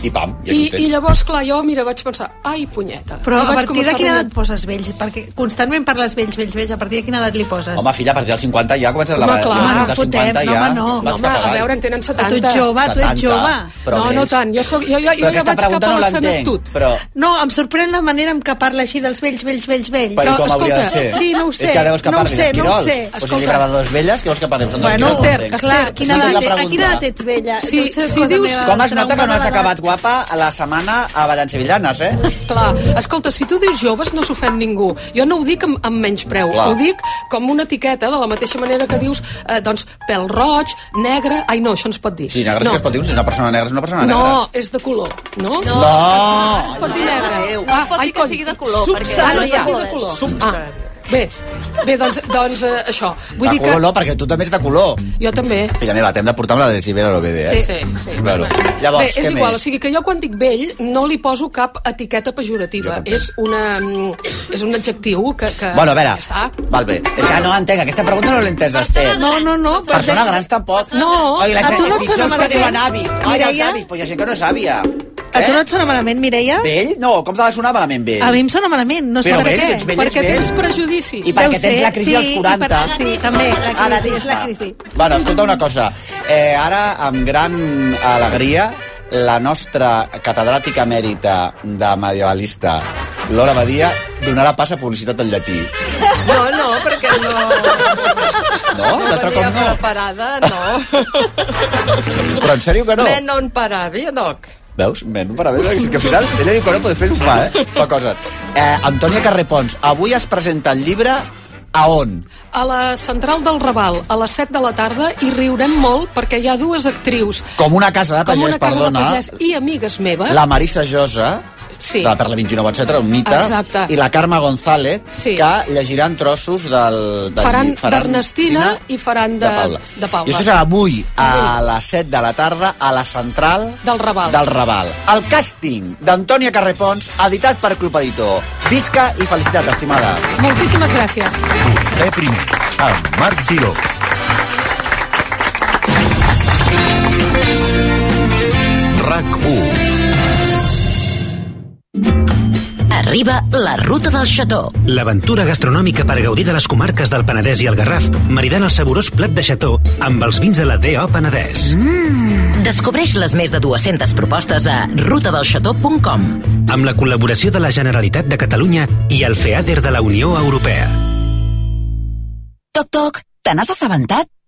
Speaker 3: I pam, ja
Speaker 9: I,
Speaker 3: content.
Speaker 9: I llavors, clar, jo, mira, vaig pensar, ai, punyeta.
Speaker 15: Però
Speaker 9: I
Speaker 15: a
Speaker 9: vaig
Speaker 15: partir de
Speaker 9: començar
Speaker 15: quina
Speaker 9: rumiar.
Speaker 15: edat poses vells? Perquè constantment parles vells, vells, vells. A partir de quina edat li poses?
Speaker 3: Home, filla, a partir dels 50 ja comences la...
Speaker 9: Home, clar.
Speaker 3: la-
Speaker 9: Home,
Speaker 3: dels
Speaker 15: fotem,
Speaker 3: 50
Speaker 15: no,
Speaker 3: ja
Speaker 15: home, no.
Speaker 3: vaig
Speaker 9: Home,
Speaker 3: cap
Speaker 9: a
Speaker 3: avall.
Speaker 9: veure, en tenen 70.
Speaker 15: tu ets jove, tu
Speaker 3: 70,
Speaker 15: ets jove.
Speaker 3: però
Speaker 9: no, no
Speaker 3: més.
Speaker 9: tant. Jo, soc, jo,
Speaker 3: Però
Speaker 9: jo, jo ja
Speaker 3: aquesta
Speaker 9: vaig cap
Speaker 3: pregunta
Speaker 9: a
Speaker 3: no
Speaker 9: la
Speaker 3: l'entenc,
Speaker 9: senectut.
Speaker 3: però...
Speaker 15: No, em sorprèn la manera en què parla així dels vells, vells, vells, vells.
Speaker 3: Però, com hauria de ser?
Speaker 15: Sí, no ho sé.
Speaker 3: És que deus que
Speaker 15: no ho
Speaker 3: parli
Speaker 15: sé, no ho
Speaker 3: d'esquirols.
Speaker 15: sé.
Speaker 3: O sigui, li agrada dos velles, que vols que parlem? Són dos
Speaker 15: Bueno,
Speaker 3: esquirols,
Speaker 15: Esther,
Speaker 3: entenc.
Speaker 15: clar, quina
Speaker 3: Sí, la
Speaker 15: edat, a
Speaker 3: pregunta.
Speaker 15: quina edat ets vella?
Speaker 9: Sí,
Speaker 15: Deu ser
Speaker 9: sí,
Speaker 15: cosa
Speaker 9: dius-
Speaker 10: Ah,
Speaker 15: meva,
Speaker 3: Com es
Speaker 15: però
Speaker 3: nota que
Speaker 15: em
Speaker 3: no has
Speaker 15: va
Speaker 3: acabat guapa a la setmana a València-Villanes, eh?
Speaker 9: Clar, escolta, si tu dius joves no s'ofèn ningú. Jo no ho dic amb, amb menys preu,
Speaker 3: Clar.
Speaker 9: ho dic com una etiqueta, de la mateixa manera que dius, eh, doncs, pèl roig, negre... Ai, no, això ens pot dir.
Speaker 3: Sí, negre és
Speaker 9: no.
Speaker 3: que es pot dir, si una persona negra és una persona negra.
Speaker 9: No, és de color, no?
Speaker 3: No.
Speaker 9: Ah, Es pot dir negre.
Speaker 3: No
Speaker 9: es pot dir que sigui de color,
Speaker 3: perquè no hi ha
Speaker 9: de
Speaker 3: colors.
Speaker 9: color. Ah, bé, bé, doncs, doncs eh, això. Vull
Speaker 3: de
Speaker 9: dir
Speaker 3: color
Speaker 9: que...
Speaker 3: no, perquè tu també ets de color.
Speaker 9: Jo també.
Speaker 3: Filla meva, t'hem de portar amb la de Sibera l'OBD, eh?
Speaker 9: Sí, sí, sí.
Speaker 3: Claro.
Speaker 9: Bé,
Speaker 3: Llavors,
Speaker 9: és
Speaker 3: què
Speaker 9: igual, o
Speaker 3: més?
Speaker 9: sigui que jo quan dic vell no li poso cap etiqueta pejorativa. És, una, mm, és un adjectiu que... que
Speaker 3: Bueno, a veure,
Speaker 9: Ja està.
Speaker 3: val bé. És que no entenc, aquesta pregunta no l'he entès, Esther.
Speaker 15: No, no, no.
Speaker 3: Persona grans tampoc.
Speaker 15: No,
Speaker 3: Ai, la
Speaker 15: a
Speaker 3: gent,
Speaker 15: tu no et
Speaker 3: pitjors
Speaker 15: sona
Speaker 3: que diuen
Speaker 15: malament.
Speaker 3: avis. Ai, els
Speaker 15: Mireia?
Speaker 3: avis, pues hi ha gent que no és àvia. Eh?
Speaker 15: A tu no et sona malament, Mireia?
Speaker 3: Vell? No, com t'ha de sonar malament vell?
Speaker 15: A mi em sona malament, no sé
Speaker 3: Però
Speaker 15: per
Speaker 3: vell,
Speaker 15: què.
Speaker 3: ets vell, Perquè ets vell. tens
Speaker 9: prejudicis.
Speaker 3: I perquè tens la crisi als 40.
Speaker 15: Sí, també, la
Speaker 3: Ara
Speaker 15: crisi, és la
Speaker 3: dis-me.
Speaker 15: crisi.
Speaker 3: Ah, Bueno, escolta una cosa. Eh, ara, amb gran alegria, la nostra catedràtica emèrita de medievalista, Lola Badia, donarà pas a publicitat al llatí.
Speaker 11: No, no, perquè no...
Speaker 3: No? Un altre
Speaker 11: venia
Speaker 3: cop no.
Speaker 11: preparada, no.
Speaker 3: Però en sèrio que no?
Speaker 11: Me non paravi, doc.
Speaker 3: Veus? Men, per haver és que al final ella diu que no, però després ho fa, eh? Fa coses. Eh, Antònia Carrepons, avui es presenta el llibre a on?
Speaker 9: a la Central del Raval a les 7 de la tarda i riurem molt perquè hi ha dues actrius
Speaker 3: Com una casa de Ah, pagès,
Speaker 9: com una casa
Speaker 3: perdona.
Speaker 9: de pagès i amigues meves.
Speaker 3: La Marisa Josa,
Speaker 9: Ah. Sí.
Speaker 3: de la Perla 29, etc., un mite,
Speaker 9: Exacte.
Speaker 3: i la Carme González,
Speaker 9: Sí.
Speaker 3: que llegiran trossos del... del
Speaker 9: faran
Speaker 3: lli-
Speaker 9: d'Ernestina i faran de,
Speaker 3: de Paula.
Speaker 9: de Paula.
Speaker 3: I això serà avui a les 7 de la tarda a la central
Speaker 9: Del Raval.
Speaker 3: del Raval. El càsting d'Antònia Carrepons, editat per Club Editor. Visca i felicitat, estimada.
Speaker 9: Moltíssimes gràcies.
Speaker 25: Vostè primer, amb Marc Giró.
Speaker 26: RAC 1
Speaker 6: Arriba la ruta del xató.
Speaker 24: L'aventura gastronòmica per gaudir de les comarques del Penedès i el Garraf, maridant el saborós plat de xató amb els vins de la D.O. Penedès.
Speaker 6: Mm. Descobreix les més de 200 propostes a rutadelxató.com.
Speaker 24: Amb la col·laboració de la Generalitat de Catalunya i el FEADER de la Unió Europea.
Speaker 6: Toc, toc, te n'has assabentat?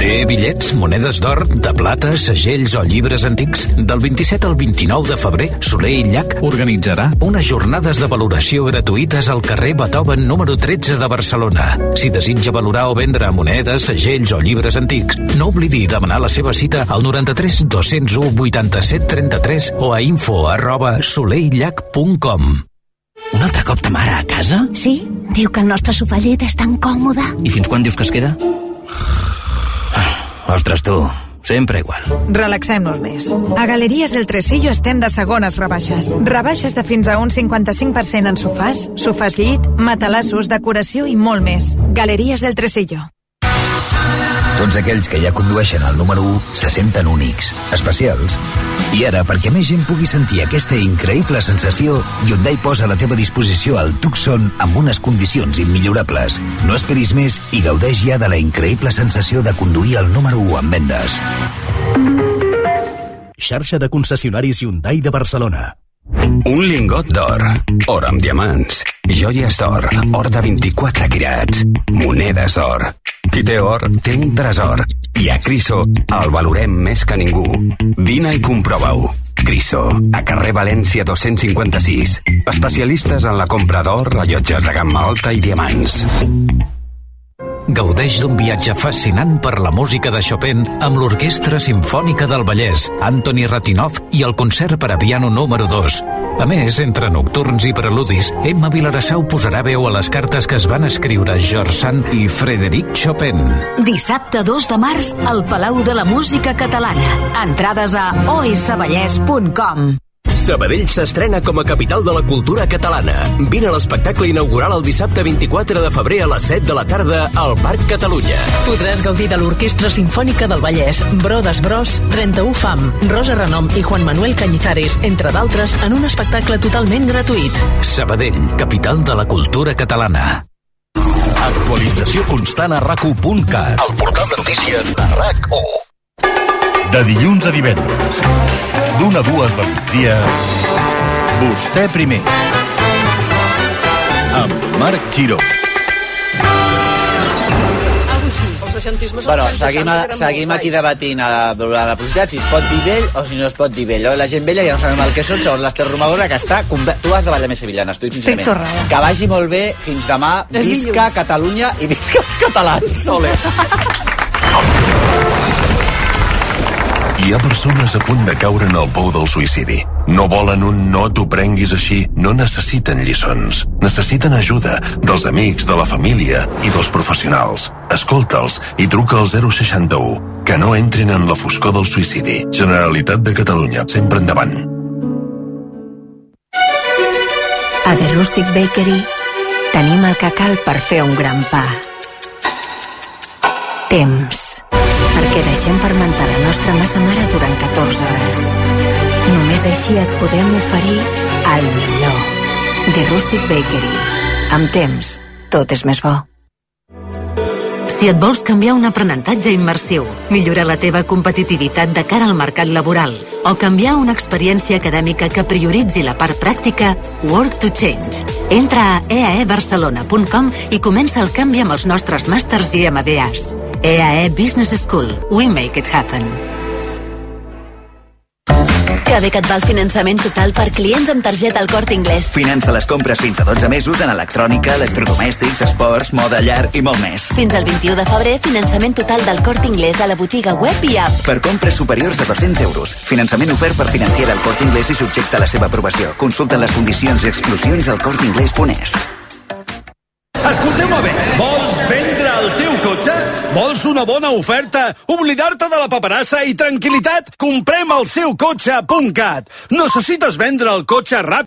Speaker 8: Té bitllets, monedes d'or, de plata, segells o llibres antics? Del 27 al 29 de febrer, Soler i Llach organitzarà unes jornades de valoració gratuïtes al carrer Beethoven número 13 de Barcelona. Si desitja valorar o vendre monedes, segells o llibres antics, no oblidi demanar la seva cita al 93 201 87 33 o a info arroba solerilllac.com.
Speaker 27: Un altre cop ta mare a casa?
Speaker 28: Sí, diu que el nostre sofallet és tan còmode.
Speaker 27: I fins quan dius que es queda? Ah, Ostres, tu, sempre igual.
Speaker 29: Relaxem-nos més. A Galeries del Tresillo estem de segones rebaixes. Rebaixes de fins a un 55% en sofàs, sofàs llit, matalassos, decoració i molt més. Galeries del Tresillo.
Speaker 8: Tots aquells que ja condueixen el número 1 se senten únics, especials. I ara, perquè més gent pugui sentir aquesta increïble sensació, Hyundai posa a la teva disposició el Tucson amb unes condicions immillorables. No esperis més i gaudeix ja de la increïble sensació de conduir el número 1 en vendes.
Speaker 30: Xarxa de concessionaris Hyundai de Barcelona.
Speaker 8: Un lingot d'or, or amb diamants, joies d'or, or de 24 quirats, monedes d'or. Qui té or té un tresor i a Criso el valorem més que ningú. Vine i comprova-ho. Criso, a carrer València 256. Especialistes en la compra d'or, rellotges de gamma alta i diamants. Gaudeix d'un viatge fascinant per la música de Chopin amb l'Orquestra Simfònica del Vallès, Anthony Ratinov i el concert per a piano número 2. A més, entre nocturns i preludis, Emma Vilarassau posarà veu a les cartes que es van escriure George Sand i Frederic Chopin.
Speaker 31: Dissabte 2 de març al Palau de la Música Catalana. Entrades a osvallès.com.
Speaker 2: Sabadell s'estrena com a capital de la cultura catalana. Vine a l'espectacle inaugural el dissabte 24 de febrer a les 7 de la tarda al Parc Catalunya.
Speaker 30: Podràs gaudir de l'Orquestra Simfònica del Vallès, Brodes Bros, 31 Fam, Rosa Renom i Juan Manuel Cañizares, entre d'altres, en un espectacle totalment gratuït.
Speaker 8: Sabadell, capital de la cultura catalana.
Speaker 30: Actualització constant a rac
Speaker 8: El portal de notícies de RAC1.
Speaker 25: De dilluns a divendres, d'una a dues del migdia, vostè primer.
Speaker 32: Amb Marc Giró.
Speaker 11: Els seixantismes...
Speaker 3: Bueno, seguim, a, seguim aquí debatint a la, a la publicitat si es pot dir vell o si no es pot dir vell. Oi? La gent vella ja no sabem el que són, segons l'Ester Romagosa, que està... conve- Tu has de ballar més sevillanes, tu, sincerament.
Speaker 15: torrada.
Speaker 3: Que vagi molt bé, fins demà.
Speaker 15: És
Speaker 3: visca
Speaker 15: dilluns.
Speaker 3: Catalunya i visca els catalans. Ole.
Speaker 33: Hi ha persones a punt de caure en el pou del suïcidi. No volen un no t'ho prenguis així, no necessiten lliçons. Necessiten ajuda dels amics, de la família i dels professionals. Escolta'ls i truca al 061. Que no entrin en la foscor del suïcidi. Generalitat de Catalunya, sempre endavant.
Speaker 29: A The Rustic Bakery tenim el que cal per fer un gran pa. Temps. Perquè deixem fermentar la nostra massa mare durant 14 hores. Només així et podem oferir
Speaker 34: el millor. The Rustic Bakery. Amb temps, tot és més bo.
Speaker 6: Si et vols canviar un aprenentatge immersiu, millorar la teva competitivitat de cara al mercat laboral o canviar una experiència acadèmica que prioritzi la part pràctica, Work to Change. Entra a eaebarcelona.com i comença el canvi amb els nostres màsters i MBAs. EAE E Business School. We make it happen.
Speaker 35: Que bé que et va el finançament total per clients amb targeta al Corte Inglés.
Speaker 3: Finança les compres fins a 12 mesos en electrònica, electrodomèstics, esports, moda, llar i molt més.
Speaker 35: Fins al 21 de febrer, finançament total del Corte Inglés a la botiga web i app.
Speaker 3: Per compres superiors a 200 euros. Finançament ofert per financiar el Corte Inglés i subjecte a la seva aprovació. Consulta les condicions i exclusions al corteinglés.es.
Speaker 2: Escolteu-me bé, vols vendre el teu cotxe? Vols una bona oferta? Oblidar-te de la paperassa i tranquil·litat? Comprem el seu cotxe a puntcat. Necessites vendre el cotxe ràpid?